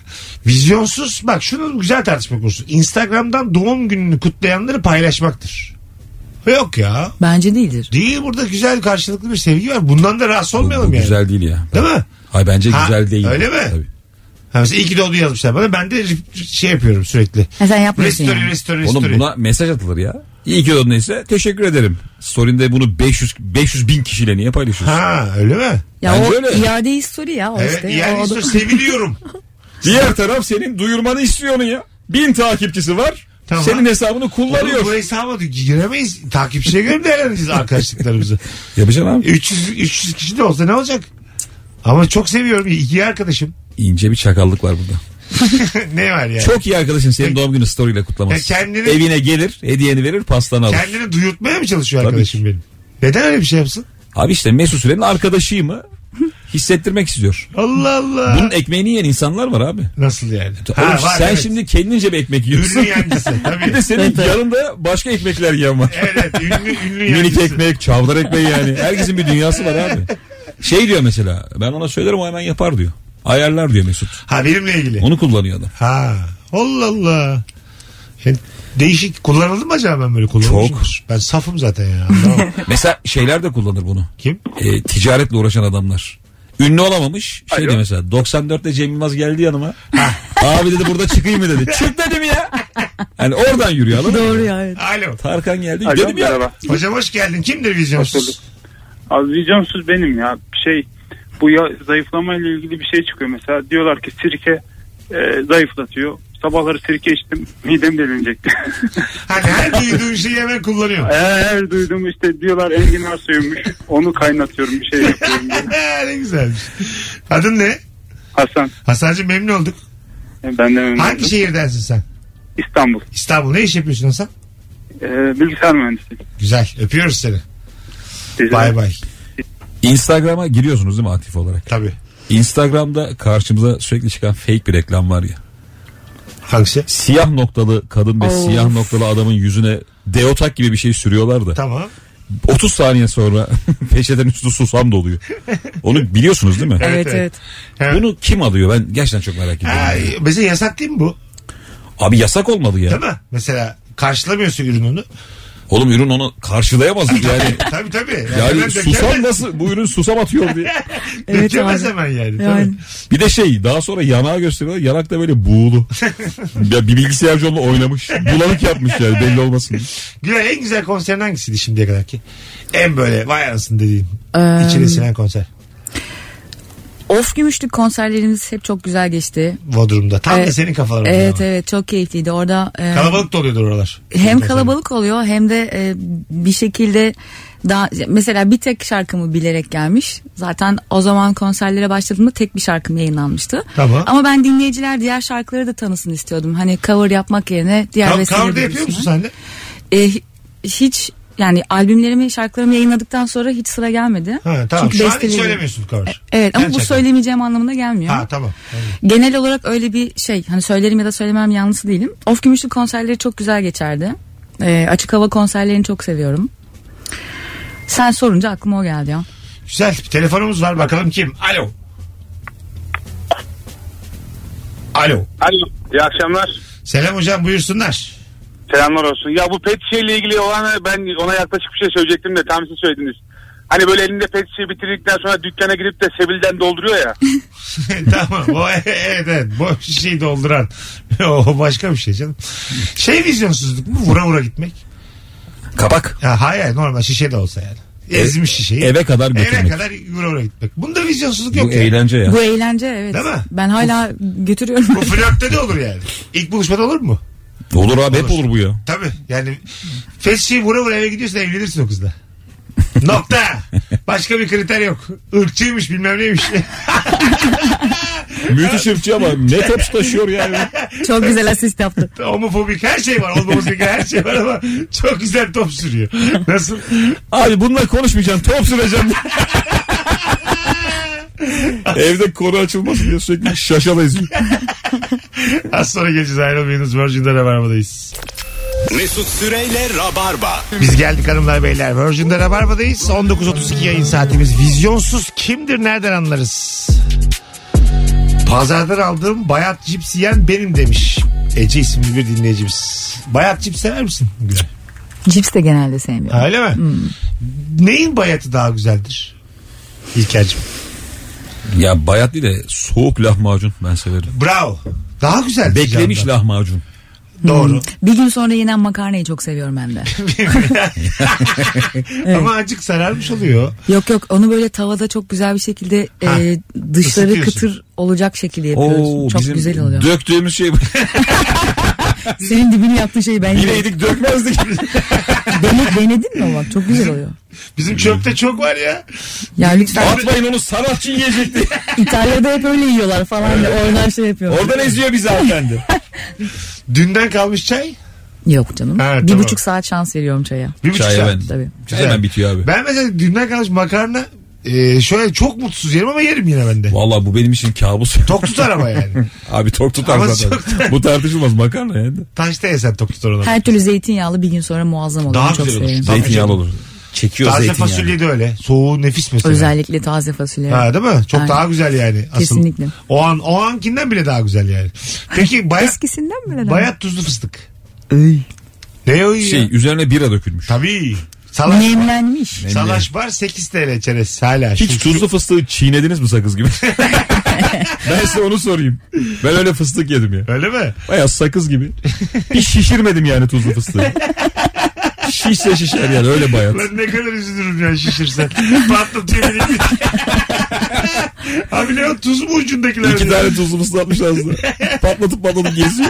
C: Vizyonsuz bak şunu güzel tartışma kursun. Instagram'dan doğum gününü kutlayanları paylaşmaktır. Yok ya.
D: Bence değildir.
C: Değil burada güzel karşılıklı bir sevgi var. Bundan da rahatsız
E: Bu,
C: olmayalım
E: bu
C: yani.
E: güzel değil ya.
C: Değil mi?
E: Hay bence
C: Ha,
E: güzel değil.
C: öyle mi?
E: Tabii.
C: Ha, mesela iyi ki doğdu yazmışlar bana. Ben de şey yapıyorum sürekli.
D: Ha, sen yapmıyorsun
C: Restory,
D: yani.
C: restory,
E: Oğlum
C: restory.
E: buna mesaj atılır ya. İyi ki doğdun neyse teşekkür ederim. Story'inde bunu 500 500 bin kişiyle niye paylaşıyorsun?
C: Ha öyle mi?
D: Ya
E: Bence
D: o
E: öyle.
D: iade histori ya o
C: Evet,
D: işte.
C: yani
D: O-
C: işte seviliyorum.
E: Diğer taraf senin duyurmanı istiyor onun ya. Bin takipçisi var.
C: Tamam.
E: Senin hesabını
C: Oğlum, bu
E: kullanıyor.
C: hesaba giremeyiz. Takipçiye göre değerlendireceğiz arkadaşlıklarımızı.
E: Yapacaksın abi.
C: 300, 300 kişi de olsa ne olacak? Ama çok seviyorum. İyi arkadaşım.
E: İnce bir çakallık var burada.
C: ne var yani?
E: Çok iyi arkadaşın senin doğum günü story'le kutlamaz.
C: Ya kendini-
E: Evine gelir, hediyeni verir, pastanı alır.
C: Kendini duyurtmaya mı çalışıyor
E: Tabii
C: arkadaşım
E: ki.
C: benim? Neden öyle bir şey yapsın?
E: Abi işte Mesut Süren'in arkadaşıyı mı hissettirmek istiyor.
C: Allah Allah.
E: Bunun ekmeğini yiyen insanlar var abi.
C: Nasıl yani?
E: Oğlum sen
C: evet.
E: şimdi kendince bir ekmek yiyorsun.
C: Ünlü yancısı
E: bir de
C: tabii.
E: senin yanında başka ekmekler yiyen var.
C: evet ünlü, ünlü
E: Minik
C: yancısı.
E: ekmek, çavdar ekmeği yani. Herkesin bir dünyası var abi. Şey diyor mesela ben ona söylerim o hemen yapar diyor. Ayarlar diyor Mesut.
C: Ha benimle ilgili.
E: Onu kullanıyor adam.
C: Ha. Allah Allah. Yani değişik kullanıldı mı acaba ben böyle kullanmışım?
E: Çok.
C: Ben safım zaten ya. Anlamam.
E: Mesela şeyler de kullanır bunu.
C: Kim?
E: E, ticaretle uğraşan adamlar. Ünlü olamamış. Şey
H: Alo.
E: de mesela 94'te Cem Yılmaz geldi yanıma. Abi dedi burada çıkayım mı dedi. Çık dedim ya. Yani oradan yürüyor adam.
D: Doğru ya evet.
C: Alo.
E: Tarkan geldi.
F: Alo,
E: dedim ya.
F: merhaba.
C: Hocam hoş geldin. Kimdir
F: Hoş bulduk.
C: vizyonsuz?
F: Abi vizyonsuz benim ya. Şey bu ya, zayıflama ile ilgili bir şey çıkıyor mesela. Diyorlar ki sirke e, zayıflatıyor. Sabahları sirke içtim midem delinecekti.
C: Hani her duyduğun şeyi hemen kullanıyorsun.
F: Her, her duydum işte diyorlar enginar suyumuş. Onu kaynatıyorum bir şey yapıyorum. diye.
C: ne güzelmiş. Adın ne?
F: Hasan
C: Hasan'cığım memnun olduk.
F: e, ben de memnun
C: Hangi şey?
F: oldum.
C: şehirdensin sen?
F: İstanbul.
C: İstanbul. Ne iş yapıyorsun Hasan?
F: E, bilgisayar mühendisi.
C: Güzel. Öpüyoruz seni.
F: Rica
C: Bay bay.
E: Instagram'a giriyorsunuz değil mi aktif olarak?
C: Tabii.
E: Instagram'da karşımıza sürekli çıkan fake bir reklam var ya.
C: Hangisi?
E: Siyah noktalı kadın ve
D: Of.
E: siyah noktalı adamın yüzüne deotak gibi bir şey sürüyorlar da.
C: Tamam.
E: 30 saniye sonra peçetenin üstü susam doluyor. Onu biliyorsunuz değil mi?
D: Evet
C: evet.
D: evet.
C: Ha.
E: Bunu kim alıyor? Ben gerçekten çok merak ediyorum.
C: Ha, mesela yasak değil mi bu?
E: Abi yasak olmalı ya.
C: Değil mi? Mesela karşılamıyorsun ürününü.
E: Oğlum ürün onu karşılayamaz yani.
C: tabii tabii. hemen
E: Yani susam
C: dökemez-
E: nasıl bu ürün susam atıyor diye.
D: Evet
C: dökemez
D: abi.
C: hemen yani. tabii.
D: Yani.
E: Bir de şey daha sonra yanağı gösteriyorlar. Yanak da böyle buğulu. ya bir bilgisayarcı onunla oynamış. Bulanık yapmış yani belli olmasın.
C: Güzel en güzel konserin hangisiydi şimdiye kadar ki? En böyle vay anasını dediğin.
D: Ee,
C: İçine sinen konser.
D: Of Gümüşlük konserlerimiz hep çok güzel geçti.
C: Bodrum'da. Tam da
D: Evet.
C: senin kafaların.
D: e, Evet evet çok keyifliydi. Orada e,
C: Kalabalık da oluyordur oralar.
D: hem kalabalık oluyor hem de e, bir şekilde daha mesela bir tek şarkımı bilerek gelmiş. Zaten o zaman konserlere başladığımda tek bir şarkım yayınlanmıştı.
C: Tamam.
D: Ama ben dinleyiciler diğer şarkıları da tanısın istiyordum. Hani cover yapmak yerine diğer
C: Kav-
D: vesileleri
C: Cover'da yapıyor musun
D: bulsunlar.
C: sen de?
D: E, hi- hiç yani albümlerimi şarkılarımı yayınladıktan sonra hiç sıra gelmedi.
C: Ha, tamam.
D: Çünkü
C: Şu an hiç
D: bestelerim-
C: söylemiyorsun cover.
D: Evet ama bu
C: Gerçekten.
D: söylemeyeceğim anlamına gelmiyor.
C: Ha tamam.
D: Genel olarak öyle bir şey hani söylerim ya da söylemem yanlısı değilim. Of Gümüşlü konserleri çok güzel geçerdi. Ee, açık hava konserlerini çok seviyorum. Sen sorunca aklıma o geldi ya.
C: Güzel. Bir telefonumuz var. Bakalım kim? Alo. Alo.
H: Alo, iyi akşamlar.
C: Selam hocam buyursunlar.
H: Selamlar olsun. Ya bu pet şeyle ilgili olan ben ona yaklaşık bir şey söyleyecektim de tam siz söylediniz. Hani böyle elinde pet şişeyi bitirdikten sonra dükkana girip de Sevil'den dolduruyor ya.
C: tamam o evet evet boş şey dolduran o başka bir şey canım. Şey vizyonsuzluk mu vura vura gitmek?
E: Kapak.
C: Ya hayır normal şişe de olsa yani. Ezmiş şişeyi.
E: E, Eve kadar
C: Eve
E: götürmek.
C: kadar vura vura gitmek. Bunda vizyonsuzluk
E: Bu
C: yok yani.
E: eğlence ya.
D: Bu eğlence evet.
C: Değil mi?
D: Ben hala götürüyorum.
C: Bu flörtte de olur yani. İlk buluşmada olur mu?
E: Olur abi hep olur bu ya.
C: Tabii yani fesçiyi vura vura eve gidiyorsun evlenirsin o kızla. Nokta. Başka bir kriter yok. Irkçıymış bilmem neymiş.
E: Müthiş ırkçı ama ne tepsi taşıyor yani.
D: Çok güzel asist yaptı.
C: Homofobik her şey var. Olmaması gereken her şey var ama çok güzel top sürüyor. Nasıl?
E: Abi bununla konuşmayacaksın top süreceğim. Evde konu açılmasın diye sürekli şaşala izliyor.
C: Az sonra geleceğiz ayrılmayınız. Virgin'de Rabarba'dayız.
B: Mesut Süreyle Rabarba.
C: Biz geldik hanımlar beyler. Virgin'de Rabarba'dayız. 19.32 yayın saatimiz. Vizyonsuz kimdir nereden anlarız? Pazardan aldığım bayat cips yiyen benim demiş. Ece isimli bir dinleyicimiz. Bayat cips sever misin? Güzel.
D: Cips de genelde sevmiyorum.
C: Öyle mi? Neyin bayatı daha güzeldir? İlker'cim.
E: Ya bayat değil de soğuk lahmacun ben severim.
C: Bravo. Daha güzel.
E: Beklemiş Hmm. lahmacun.
C: Doğru.
D: Bir gün sonra yenen makarnayı çok seviyorum ben de.
C: Ama acık sararmış oluyor.
D: Yok yok onu böyle tavada çok güzel bir şekilde
C: Ha,
D: e, dışları
C: ısıtıyorsun.
D: kıtır olacak şekilde yapıyoruz. çok
E: bizim
D: güzel oluyor.
E: Döktüğümüz şey
D: Senin dibini yaptığın şeyi ben yedim.
E: bileydik dökmezdik.
D: Dene- denedin mi bak çok güzel oluyor.
C: Bizim çöpte çok var ya.
D: Ya lütfen
E: Atmayın onu sanatçı yiyecekti.
D: İtalya'da hep öyle yiyorlar falan. da Oradan şey yapıyor.
E: Oradan eziyor bizi hanımefendi.
C: Dünden kalmış çay.
D: Yok canım.
C: Ha,
D: bir
C: tamam.
D: buçuk saat şans veriyorum çaya.
C: Bir buçuk
E: Çay
C: saat.
E: hemen.
D: Tabii.
E: Çay hemen bitiyor abi.
C: Ben mesela dünden kalmış makarna e, şöyle çok mutsuz yerim ama yerim yine bende.
E: Valla bu benim için kabus.
C: Tok tutar ama yani.
E: Abi tok tutar
C: Ama
E: zaten.
C: çok-
E: Bu tartışılmaz makarna yani.
C: Taşta yesen tok tutar ona.
D: Her türlü zeytinyağlı bir gün sonra muazzam oluyor.
C: Daha
D: çok
C: güzel olur.
D: severim.
C: Tabii
E: Zeytinyağlı
C: canım.
E: olur. Çekiyor
C: Taze
E: zeytinyağı.
C: fasulye de öyle. Soğuğu nefis mesela.
D: Özellikle taze fasulye.
C: Ha değil mi? Çok
D: Aynen.
C: daha güzel yani. Asıl.
D: Kesinlikle.
C: O an o ankinden bile daha güzel yani. Peki bayat
D: Eskisinden mi? neden?
C: bayat tuzlu fıstık. Ne o ya?
E: Şey üzerine bira dökülmüş.
C: Tabii. Salaş,
D: Nemlenmiş.
C: salaş bar 8 TL çerez hala. Şu-
E: Hiç tuzlu fıstığı çiğnediniz mi sakız gibi? ben size onu sorayım. Ben öyle fıstık yedim ya.
C: Öyle mi?
E: Baya sakız gibi. Hiç şişirmedim yani tuzlu fıstığı. Şişse şişer yani öyle bayat.
C: Lan ne kadar üzülürüm ya şişirsen. Patlatıyor beni. Abi ne o tuz mu ucundakiler?
E: İki tane tuzlu fıstığı atmışlar aslında. Patlatıp patlatıp geziyor.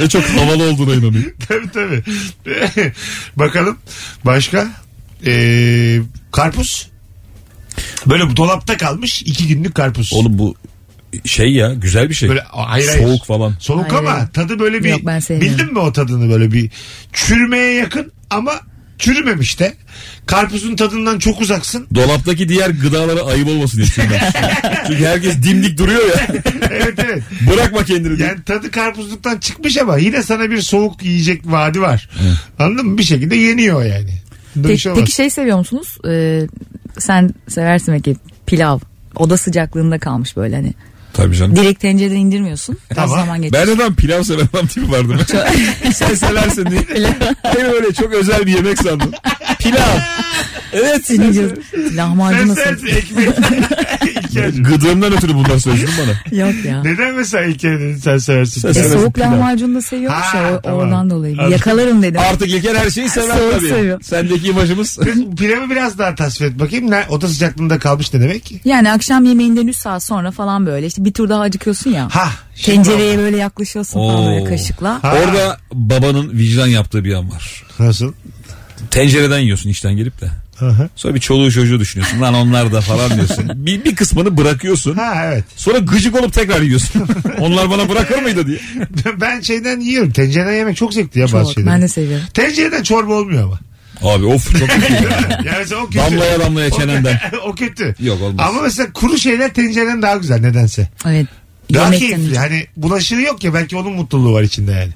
E: Ve çok havalı olduğuna inanıyor.
C: tabii tabii. Bakalım başka. Ee, karpuz. Böyle dolapta kalmış iki günlük karpuz.
E: Oğlum bu şey ya güzel bir şey.
C: Böyle hayır, hayır.
E: Soğuk falan.
C: Soğuk
D: Hayır,
C: ama
D: hayır.
C: tadı böyle bir
D: Yok, ben sevmiyorum.
C: bildin mi o tadını böyle bir çürümeye yakın ama çürümemiş de. Karpuzun tadından çok uzaksın.
E: Dolaptaki diğer gıdalara ayıp olmasın diye düşünüyorum. Çünkü herkes dimdik duruyor ya.
C: Evet evet.
E: Bırakma kendini. diye.
C: Yani tadı karpuzluktan çıkmış ama yine sana bir soğuk yiyecek vaadi var. Anladın mı? Bir şekilde yeniyor yani. Bunda bir
D: Peki,
C: şey olmaz.
D: peki şey seviyor musunuz? Ee, sen seversin belki pilav. Oda sıcaklığında kalmış böyle hani.
E: Tabii canım.
D: Direkt tencereden indirmiyorsun. Biraz
C: Tamam.
D: zaman geçiyor.
E: Ben neden pilav seven adam tipi vardı mı? Sen seversin diye. Beni öyle çok özel bir yemek sandım. Pilav. Evet. sen
D: Sineceğiz. Lahmacun
C: Sen
D: nasıl?
C: sensin ekmek.
E: seversin. Gıdığımdan ötürü bundan söyledin bana.
D: Yok ya.
C: Neden mesela İlker dedin sen seversin?
E: Sen
D: E,
E: seversin.
D: soğuk
E: pilav.
D: lahmacun da seviyormuş ya
C: Ha,
D: o-
C: tamam.
D: oradan dolayı. Bir
C: Anladım.
D: Yakalarım dedim.
E: Artık İlker her şeyi sever
D: Soğuk
E: tabii.
D: seviyor.
E: Sendeki imajımız.
C: Kız, Pilavı biraz daha tasvir et bakayım. Ne, oda sıcaklığında kalmış ne demek ki?
D: Yani akşam yemeğinden 3 saat sonra falan böyle işte bir tur daha acıkıyorsun ya.
C: Ha. şimdi
D: Tencereye böyle yaklaşıyorsun falan böyle
E: Oo.
D: kaşıkla.
C: Ha.
E: Orada babanın vicdan yaptığı bir an var.
C: bak. Nasıl?
E: Tencereden yiyorsun işten gelip de.
C: Aha.
E: Sonra bir çoluğu çocuğu düşünüyorsun. Lan onlar da falan diyorsun. Bir, bir kısmını bırakıyorsun.
C: Ha evet.
E: Sonra gıcık olup tekrar yiyorsun. onlar bana bırakır mıydı diye.
C: Ben şeyden yiyorum. Tencereden yemek çok zevkli ya bazı
D: Çok.
C: şeyler.
D: Ben de seviyorum.
C: Tencereden çorba olmuyor ama.
E: Abi of çok kötü.
C: Yani mesela o kötü.
E: damlaya damlaya çenenden.
C: o kötü.
E: Yok, olmaz.
C: Ama mesela kuru şeyler tencereden daha güzel nedense.
D: Evet.
C: Daha
D: Yemekten
C: keyifli. Hani bulaşığı yok ya belki onun mutluluğu var içinde yani.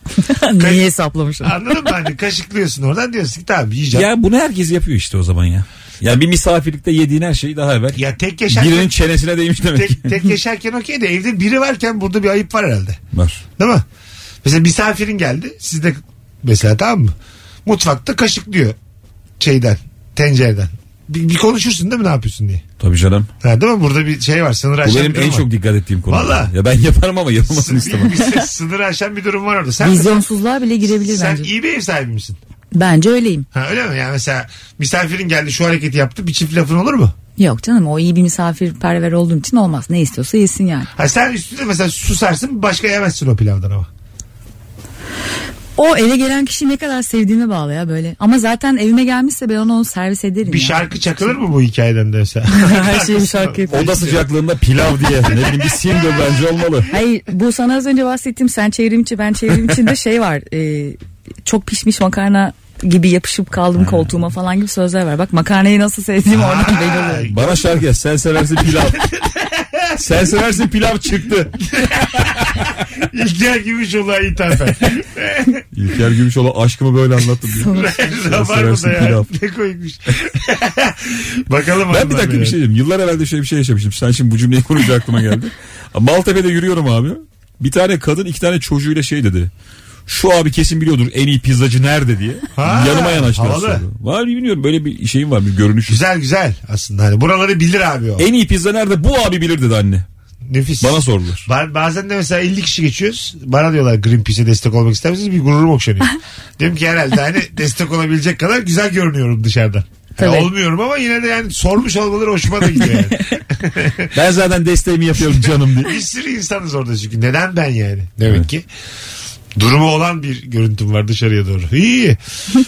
D: önce. Neyi hesaplamışım?
C: Anladın mı? Hani kaşıklıyorsun oradan diyorsun ki tamam yiyeceğim. Ya,
E: Ya bunu herkes yapıyor işte o zaman ya. Ya bir misafirlikte yediğin her şeyi daha evvel
C: tek yaşarken
E: birinin çenesine değmiş demek.
C: tek, tek yaşarken okey de evde biri varken burada bir ayıp var herhalde.
E: Var.
C: Değil mi? Mesela misafirin geldi. Siz de mesela tamam mı? Mutfakta kaşıklıyor şeyden, tencereden. Bir, bir konuşursun değil mi ne yapıyorsun diye.
E: Tabii canım.
C: Ha, değil mi? Burada bir şey var. Sınır
E: Bu
C: aşan
E: benim
C: bir durum
E: en
C: var.
E: çok dikkat ettiğim konu.
C: Valla.
E: Ya ben yaparım ama yapılmasını istemem.
C: Bir- bir- Sınır aşan bir durum var orada. Sen,
D: Vizyonsuzluğa bile girebilir
C: sen
D: bence.
C: iyi bir ev sahibi misin?
D: Bence öyleyim.
C: Ha, öyle mi? Yani mesela misafirin geldi şu hareketi yaptı bir çift lafın olur mu?
D: Yok canım o iyi bir misafirperver olduğum için olmaz. Ne istiyorsa yesin yani.
C: Ha, sen üstüne mesela susarsın başka yemezsin o pilavdan ama.
D: O eve gelen kişiyi ne kadar sevdiğime bağlı ya böyle. Ama zaten evime gelmişse ben ona onu servis ederim
C: Bir şey
D: ya.
C: şarkı çakılır mı bu hikayeden de mesela?
D: Her şeyi bir şarkı yapıyor.
E: Oda sıcaklığında pilav diye. Ne bileyim bir sindir bence olmalı.
D: Hayır bu sana az önce bahsettiğim sen çevrimçi ben çevrimçi de şey var. e, çok pişmiş makarna gibi yapışıp kaldım koltuğuma falan gibi sözler var. Bak makarnayı nasıl sevdiğim oradan belli oluyor.
E: Bana şarkı yaz. Sen seversin pilav. Sen seversin pilav çıktı.
C: İlker Gümüşoğlu'na ithafen.
E: İlker Gümüşoğlu aşkımı böyle anlattı.
C: Rabarba'da
E: Seversin
C: ya.
E: şey pilav.
C: Ne koymuş. Bakalım.
E: Ben bir
C: hanımlar
E: dakika bir
C: beyler.
E: şey diyeyim. Yıllar evvel de şöyle bir şey yaşamıştım. Sen şimdi bu cümleyi kurunca aklıma geldi. Maltepe'de yürüyorum abi. Bir tane kadın iki tane çocuğuyla şey dedi. Şu abi kesin biliyordur en iyi pizzacı nerede diye.
C: Ha,
E: Yanıma yanaştılar
C: havalı.
E: sonra. Var bilmiyorum böyle bir şeyim var bir görünüşüm.
C: Güzel güzel aslında. Hani buraları bilir abi o.
E: En iyi pizza nerede? Bu abi bilir dedi anne.
C: Nefis.
E: Bana sordular.
C: Ben bazen de mesela 50 kişi geçiyoruz. Bana diyorlar Greenpeace'e destek olmak ister misiniz? Bir gururum okşanıyor. Dedim ki herhalde hani destek olabilecek kadar güzel görünüyorum dışarıdan. Yani
D: Tabii.
C: olmuyorum ama yine de yani sormuş olmaları hoşuma da gidiyor yani.
E: Ben zaten desteğimi yapıyorum canım diye.
C: bir sürü insanız orada çünkü. Neden ben yani? Demek ki. Durumu olan bir görüntüm var dışarıya doğru. İyi.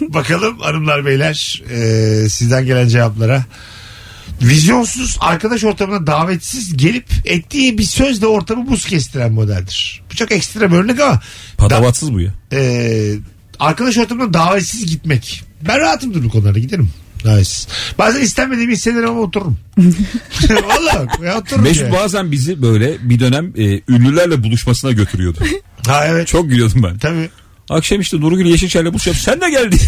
C: Bakalım hanımlar beyler e, sizden gelen cevaplara. Vizyonsuz arkadaş ortamına davetsiz gelip ettiği bir sözle ortamı buz kestiren modeldir. Bu çok ekstrem örnek ama da-
E: Patavatsız bu ya.
C: e, arkadaş ortamına davetsiz gitmek. Ben rahatımdır bu konularda giderim. Davetsiz. Bazen istenmediğimi hissederim ama otururum. Valla ya otururum.
E: Mesut
C: yani.
E: bazen bizi böyle bir dönem e, ünlülerle buluşmasına götürüyordu.
C: Ha evet.
E: Çok gülüyordum ben.
C: Tabii.
E: Akşam işte Nurgül Yeşilçay'la buluşacağım. Sen de geldin.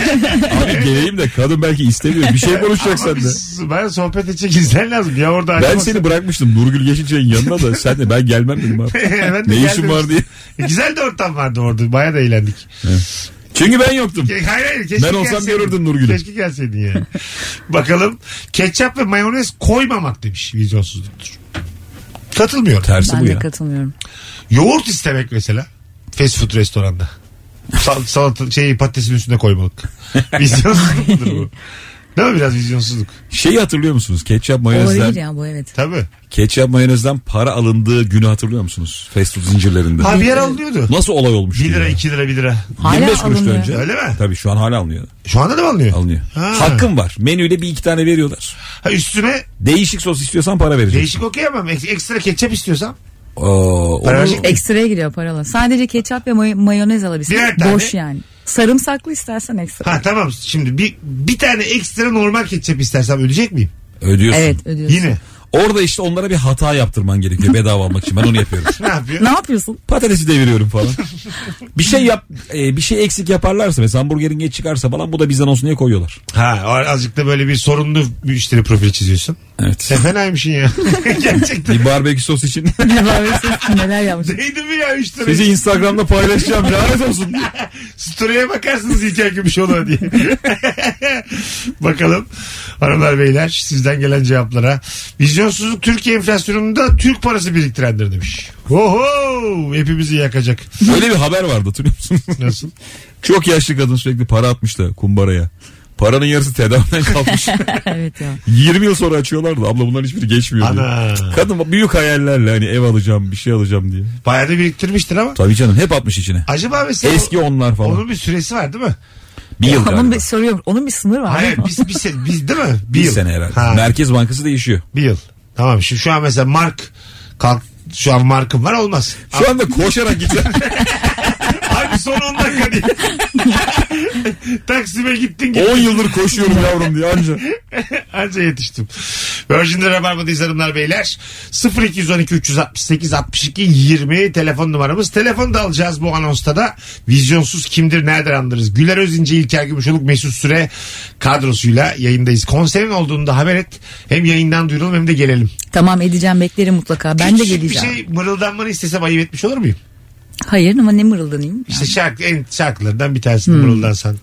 E: Abi geleyim de kadın belki istemiyor. Bir şey konuşacak
C: Ama
E: sende.
C: biz- Ben sohbet edecek insan lazım. Ya orada
E: Ben
C: ayrılmak-
E: seni bırakmıştım Nurgül Yeşilçay'ın yanına da sen de ben gelmem dedim abi.
C: Ben de
E: ne işin
C: geldim. E,
E: var diye.
C: Güzel de ortam vardı orada. Baya da eğlendik.
E: Çünkü ben yoktum.
C: Hayır hayır. Keşke
E: Ben olsam
C: gelseydin.
E: görürdün Nurgül'ü.
C: Keşke gelseydin yani. Bakalım. Ketçap ve mayonez koymamak demiş vizyonsuzluktur. Katılmıyorum.
E: Tersi
D: Ben
E: bu
D: de
E: ya.
D: katılmıyorum.
C: Yoğurt istemek mesela. Fast food restoranda. Sal, salata şeyi patatesin üstüne koymalık. Vizyonsuzluktur bu. Değil mi biraz vizyonsuzluk?
E: Şeyi hatırlıyor musunuz? Ketçap
D: Olabilir
E: mayonezden,
D: ya bu evet.
C: Tabii.
E: ketçap mayonezden para alındığı günü hatırlıyor musunuz? Fast food zincirlerinde.
C: Ha bir yer alınıyordu.
E: Nasıl olay olmuş?
C: 1 lira
E: ya? şey?
C: 2 lira 1 lira.
D: Hala
E: 25 kuruştu
D: alınıyor.
E: önce.
C: Öyle mi?
E: Tabii şu an hala alınıyor.
C: Şu anda da mı alınıyor?
E: alınıyor.
C: Ha.
E: Hakkım var. Menüyle bir iki tane veriyorlar.
C: Ha, üstüme
E: Değişik sos istiyorsan para vereceksin.
C: Değişik okuyamam. Ek- Ekstra ketçap istiyorsam.
E: Oo,
C: Para
E: onu-
C: verecek miyim?
D: Ekstraya giriyor paralar. Sadece ketçap ve may- mayonez alabilirsin.
C: Birer tane.
D: Boş yani. Sarımsaklı istersen ekstra.
C: Ha tamam şimdi bir, bir tane ekstra normal ketçap istersem ölecek miyim?
E: ödüyorsun.
D: Evet ödüyorsun.
C: Yine.
E: Orada işte onlara bir hata yaptırman gerekiyor bedava almak için. Ben onu yapıyorum.
C: Ne yapıyor?
D: Ne yapıyorsun?
E: Patatesi deviriyorum falan. bir şey yap e, bir şey eksik yaparlarsa mesela hamburgerin geç çıkarsa falan bu da bizden olsun diye koyuyorlar.
C: Ha o- azıcık da böyle bir sorunlu müşteri profili çiziyorsun.
E: Evet.
C: Sen fenaymışsın ya. Gerçekten.
E: bir barbekü sos için
D: Mayonez neler yapmış?
C: Neydi mi ya 3 lira?
E: sizi Instagram'da paylaşacağım lanet olsun.
C: Story'e bakarsınız İlker Gümüşoğlu'na diye. Bakalım hanımlar beyler sizden gelen cevaplara. Vizyonsuzluk Türkiye enflasyonunda Türk parası biriktirendir demiş. Oho hepimizi yakacak.
E: Öyle bir haber vardı hatırlıyor musunuz?
C: Nasıl?
E: Çok yaşlı kadın sürekli para atmış da kumbaraya. Paranın yarısı tedaviden kalmış.
D: evet ya.
E: 20 yıl sonra açıyorlardı. Abla bunların hiçbiri geçmiyor
C: Ana.
E: diyor. Kadın büyük hayallerle hani ev alacağım bir şey alacağım diye.
C: Bayağı da biriktirmiştir ama.
E: Tabii canım hep atmış içine.
C: Acaba mesela
E: Eski onlar falan.
C: onun bir süresi var değil mi?
E: bir yıl
D: Onun
E: galiba.
D: bir soruyorum. Onun bir sınırı var.
C: Hayır
D: değil mi?
C: biz, bir sene, biz değil mi?
E: Bir sene herhalde.
C: Ha,
E: Merkez Bankası değişiyor.
C: bir yıl. Tamam şu, şu an mesela mark kalk şu an markım var olmaz.
E: Şu anda koşarak gitsen.
C: Abi son 10 dakika değil. Taksim'e gittin gittin.
E: 10 yıldır koşuyorum yavrum diye anca.
C: Anca yetiştim. Virgin'de Rabarba'dayız hanımlar beyler. 0212 368 62 20 telefon numaramız. Telefon da alacağız bu anonsta da. Vizyonsuz kimdir nereden anlarız? Güler Özince, İlker Gümüşoluk, Mesut Süre kadrosuyla yayındayız. Konserin olduğunda haber et. Hem yayından duyuralım hem de gelelim.
D: Tamam edeceğim beklerim mutlaka. Ben de
C: Küçücük
D: geleceğim.
C: Bir şey mırıldanmanı istesem ayıp etmiş olur muyum?
D: Hayır ama ne mırıldanayım? Hmm.
C: İşte şarkı, en şarkılardan bir tanesini mırıldansan.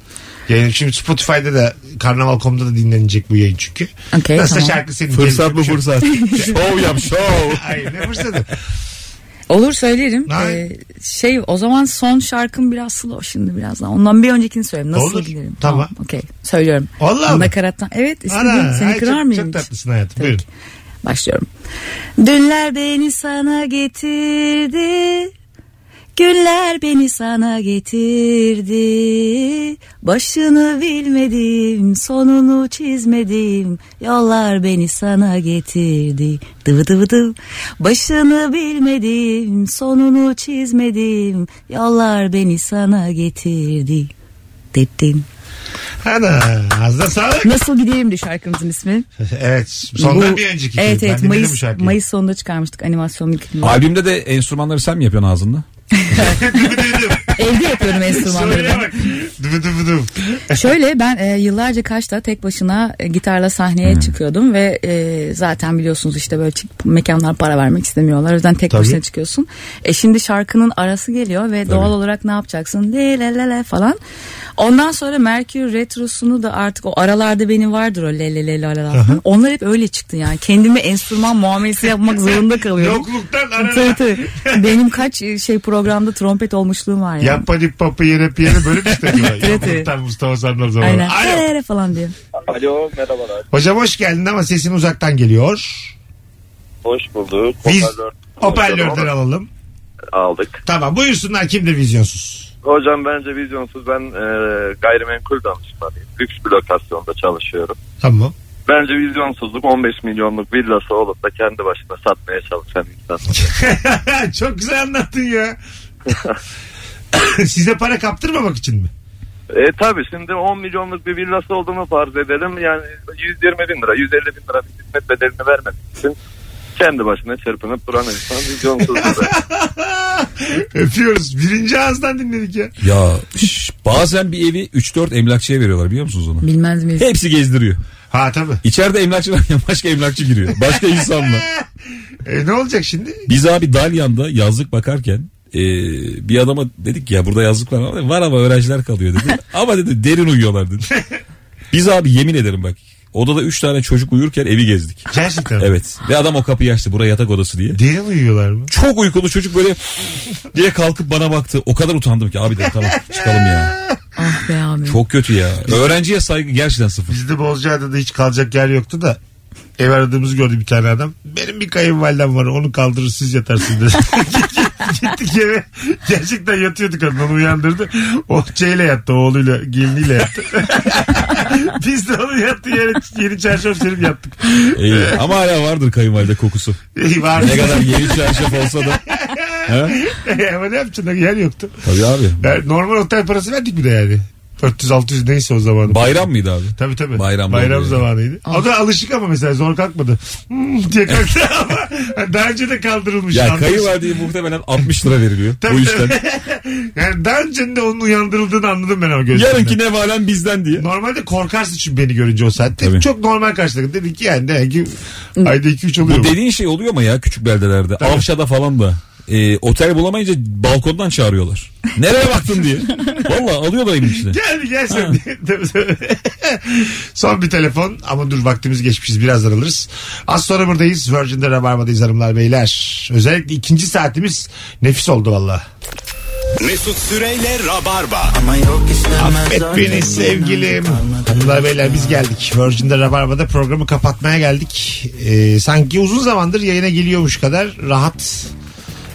C: Yayın, şimdi Spotify'da da Karnaval.com'da da dinlenecek bu yayın çünkü.
D: Okey,
C: Nasıl
D: tamam.
C: şarkı senin.
E: Fırsat
C: Gelin-
E: mı fırsat? şov yap şov.
C: Hayır ne fırsatı?
D: Olur söylerim.
C: Hayır.
D: Ee, şey o zaman son şarkım biraz slow şimdi biraz daha. Ondan bir öncekini söyleyeyim. Nasıl
C: Olur,
D: giderim?
C: tamam.
D: Okey. Söylüyorum.
C: Vallahi mi?
D: Nakarattan. Evet istediğin
C: Ana,
D: seni
C: ay,
D: kırar
C: çok,
D: mıyım?
C: Çok
D: hiç?
C: tatlısın hayatım.
D: Tabii
C: Buyurun.
D: ki. Başlıyorum. Dünler beni sana getirdi. Günler beni sana getirdi. Başını bilmedim, sonunu çizmedim. Yollar beni sana getirdi. Dıvı dıvı dıv. Başını bilmedim, sonunu çizmedim. Yollar beni sana getirdi. Dedim.
C: Ana ağzına sağlık.
D: Nasıl gideyim de şarkımızın ismi?
C: evet. Sondan
D: Bu-
C: bir önceki.
D: Evet
C: Ben
D: evet
C: dinledim bu
D: Mayıs,
C: şarkıyı.
D: Mayıs sonunda çıkarmıştık animasyon bir klibini.
E: Albümde de enstrümanları sen mi yapıyorsun ağzında?
D: Evde yapıyorum enstrümanları
C: Soruya
D: ben.
C: bak. Dıvı dıvı dıv.
D: Şöyle ben e, yıllarca Kaş'ta tek başına e, gitarla
C: Hmm.
D: sahneye çıkıyordum ve e, zaten biliyorsunuz işte böyle çık- mekanlar para vermek istemiyorlar. O yüzden tek
C: Tabii.
D: başına çıkıyorsun. E şimdi şarkının arası geliyor ve doğal olarak ne yapacaksın? Le le le le falan. Ondan sonra Merkür Retrosu'nu da artık o aralarda benim vardır o le le le la la la. falan. Onlar hep öyle çıktı yani. Kendime enstrüman muamelesi yapmak zorunda kalıyorum.
C: Yokluktan arana.
D: Tabii, tabii. Benim kaç e, şey programda trompet olmuşluğum var yani.
C: Yapma dip papı yere piyere böyle mi istediyorlar?
D: Evet, evet.
C: Yokluktan Mustafa Sandal zamanı.
D: Aynen.
C: Alo.
D: Hele hele falan diyor.
H: Alo merhabalar.
C: Hocam hoş geldin ama sesin uzaktan geliyor.
H: Hoş bulduk.
C: Biz
H: Hoparlör-
C: hoparlörden alalım.
H: aldık.
C: Tamam buyursunlar kimdir vizyonsuz?
H: Hocam bence vizyonsuz ben e, gayrimenkul danışmanıyım. Lüks bir lokasyonda çalışıyorum.
C: Tamam.
H: Bence vizyonsuzluk 15 milyonluk villası olup da kendi başına satmaya çalışan insan.
C: Çok güzel anlattın ya. Size para kaptırmamak için mi?
H: E tabi şimdi 10 milyonluk bir villası olduğunu farz edelim. Yani 120 bin lira, 150 bin lira bir hizmet bedelini vermemek için kendi başına çırpınıp duran insan vizyonsuzdur.
C: Öpüyoruz. Birinci ağızdan dinledik ya.
E: Ya şş, bazen bir evi 3-4 emlakçıya veriyorlar biliyor musunuz onu?
D: Bilmez miyiz?
E: Hepsi gezdiriyor.
C: Ha tabii.
E: İçeride emlakçıdan başka emlakçı giriyor. Başka insanla.
C: E, ne olacak şimdi?
E: Biz abi Dalyan'da yazlık bakarken e, bir adama dedik ki, ya burada yazlıklar var, var ama öğrenciler kalıyor dedi. ama dedi derin uyuyorlar dedi. Biz abi yemin ederim bak odada 3 tane çocuk uyurken evi gezdik.
C: Gerçekten.
E: Evet ve adam o kapıyı açtı buraya yatak odası diye.
C: Derin uyuyorlar mı?
E: Çok uykulu çocuk böyle diye kalkıp bana baktı. O kadar utandım ki abi dedim tamam çıkalım ya.
D: Ah be abi.
E: Çok kötü ya. Öğrenciye saygı gerçekten sıfır.
C: Bizde Bozcaada'da hiç kalacak yer yoktu da ev aradığımızı gördü bir tane adam. Benim bir kayınvalidem var onu kaldırır siz yatarsınız dedi. Gittik eve. Gerçekten yatıyorduk kadın onu uyandırdı. O şeyle yattı oğluyla geliniyle yattı. Biz de onun yattığı yere yeni çarşaf serip yattık.
E: İyi. Ama hala vardır kayınvalide kokusu.
C: İyi var.
E: Ne kadar yeni çarşaf olsa da. He?
C: Ama ne yapacaksın yer yoktu.
E: Tabii abi.
C: Yani normal otel parası verdik bir de yani. 400-600 neyse o zaman.
E: Bayram mıydı abi?
C: Tabii tabii.
E: Bayram oluyor.
C: zamanıydı. O da alışık ama mesela zor kalkmadı. Hmm diye kalktı ama daha önce de kaldırılmış.
E: Ya
C: Anladın mı?
E: kayınvalideye muhtemelen 60 lira veriliyor
C: Tabii,
E: bu işten.
C: Yani daha önce de onun uyandırıldığını anladım ben ama gözlerimden.
E: Yarınki ne valen bizden diye.
C: Normalde korkarsın çünkü beni görünce o saatte.
E: Tabii.
C: Çok normal karşıladık. Dedik ki yani demek ki ayda 2-3 oluyor.
E: Bu
C: bu.
E: dediğin şey oluyor mu ya küçük beldelerde? Avşa'da falan da. E, otel bulamayınca balkondan çağırıyorlar. Nereye baktın diye. Valla alıyorlar evin içine.
C: Gel bir gel sen. Tabii, tabii. Son bir telefon ama dur vaktimiz geçmişiz birazdan alırız. Az sonra buradayız. Virgin'de Rabarba'dayız hanımlar beyler. Özellikle ikinci saatimiz nefis oldu valla.
B: Mesut Süreyle Rabarba.
C: Affet beni sevgilim. Hanımlar beyler biz geldik. Virgin'de Rabarba'da programı kapatmaya geldik. Ee, sanki uzun zamandır yayına geliyormuş kadar rahat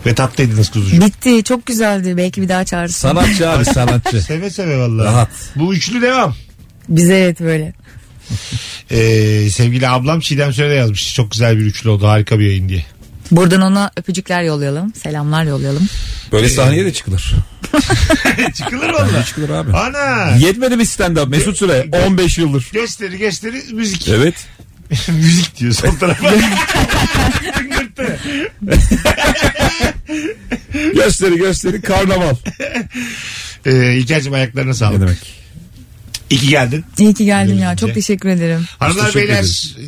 C: ve tatlıydınız kuzucuğum.
D: Bitti. Çok güzeldi. Belki bir daha çağırırsın.
E: Sanatçı abi sanatçı.
C: Seve seve valla.
E: Rahat.
C: Bu üçlü devam.
D: Bize evet böyle.
C: Ee, sevgili ablam Çiğdem Söyle yazmış. Çok güzel bir üçlü oldu. Harika bir yayın diye.
D: Buradan ona öpücükler yollayalım. Selamlar yollayalım.
C: Ee,
E: Böyle sahneye de çıkılır.
C: Çıkılır valla.
E: Çıkılır abi.
C: Ana.
E: Yetmedi mi stand-up Mesut Süre 15 yıldır.
C: Gösteri gösteri müzik.
E: Evet.
C: müzik diyor son tarafa.
E: Gösteri gösteri karnaval.
C: Ee, İlker'cim ayaklarına
E: Ne
C: sağlık.
E: demek?
C: İyi ki geldin.
D: İyi ki geldim ya.
C: Öncelikle.
D: Çok teşekkür ederim.
C: Hanımlar
E: teşekkür
C: beyler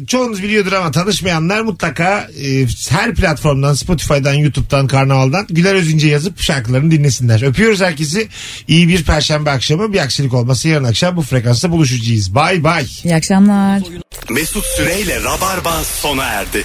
C: çoğunuz biliyordur ama tanışmayanlar mutlaka e, her platformdan Spotify'dan YouTube'dan Karnaval'dan Güler Özünce yazıp şarkılarını dinlesinler. Öpüyoruz herkesi. İyi bir perşembe akşamı bir aksilik olması yarın akşam bu frekansta buluşacağız. Bay bay.
D: İyi akşamlar.
B: Mesut Süreyle Rabarba sona erdi.